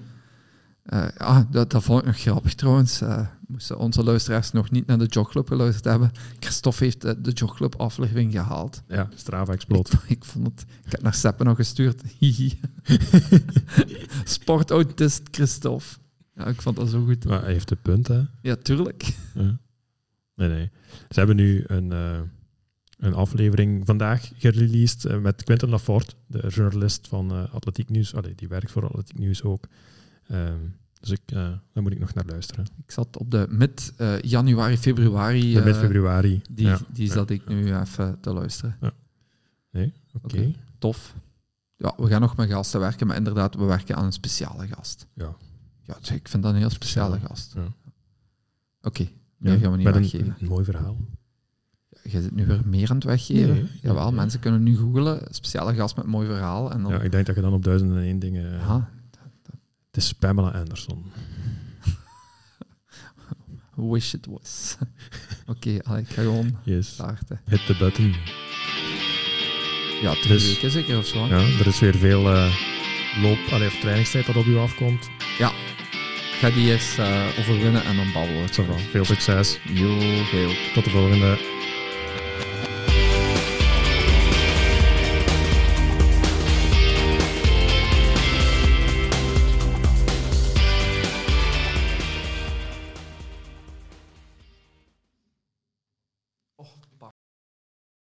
S2: Eh, ah, dat, dat vond ik nog grappig trouwens. Eh, moesten onze luisteraars nog niet naar de Jogclub geluisterd hebben. Christophe heeft eh, de Jogclub aflevering gehaald.
S1: Ja, Strava Explode.
S2: Ik, ik vond het. Ik heb naar Seppen nog gestuurd. Hihi. Sportautist Christophe. Ja, ik vond dat zo goed.
S1: Maar hij heeft de punt, hè?
S2: Ja, tuurlijk.
S1: Ja. Nee, nee. Ze hebben nu een, eh, een aflevering vandaag gereleased eh, met Quentin Lafort, de journalist van eh, Atletiek Nieuws. Allee, die werkt voor Atletiek Nieuws ook. Ehm, dus ik, eh, daar moet ik nog naar luisteren.
S2: Ik zat op de mid eh, januari, februari. eh,
S1: Met februari.
S2: Die,
S1: Ja,
S2: die zat ik nu even te luisteren.
S1: Oké.
S2: oké. Tof. Ja, we gaan nog met gasten werken, maar inderdaad, we werken aan een speciale gast.
S1: Ja.
S2: Ja, dus ik vind dat een heel speciale
S1: Speciaal,
S2: gast.
S1: ja.
S2: Oké, meer gaan we niet
S1: met een-
S2: weggeven.
S1: een, mooi verhaal.
S2: Je zit nu weer meer aan het weggeven.
S1: Nee, nee,
S2: Jawel,
S1: nee.
S2: mensen kunnen nu googelen, speciale gast met mooi verhaal. En dan,
S1: Ja, ik denk dat je dan op duizenden en één dingen... eh,
S2: Ja,
S1: Het is Pamela Anderson.
S2: Wish it was. Oké, allee, ik ga gewoon
S1: Yes.
S2: starten.
S1: Hit the button.
S2: Ja, twee
S1: Dus-
S2: weken zeker of zo. Ja.
S1: Ja, er is weer veel eh, loop- allee, of trainingstijd dat op u afkomt.
S2: Ga die eerst eh, overwinnen en dan babbelen. we
S1: Zo van,
S2: terug.
S1: Veel succes.
S2: Jo, heel.
S1: Tot de volgende.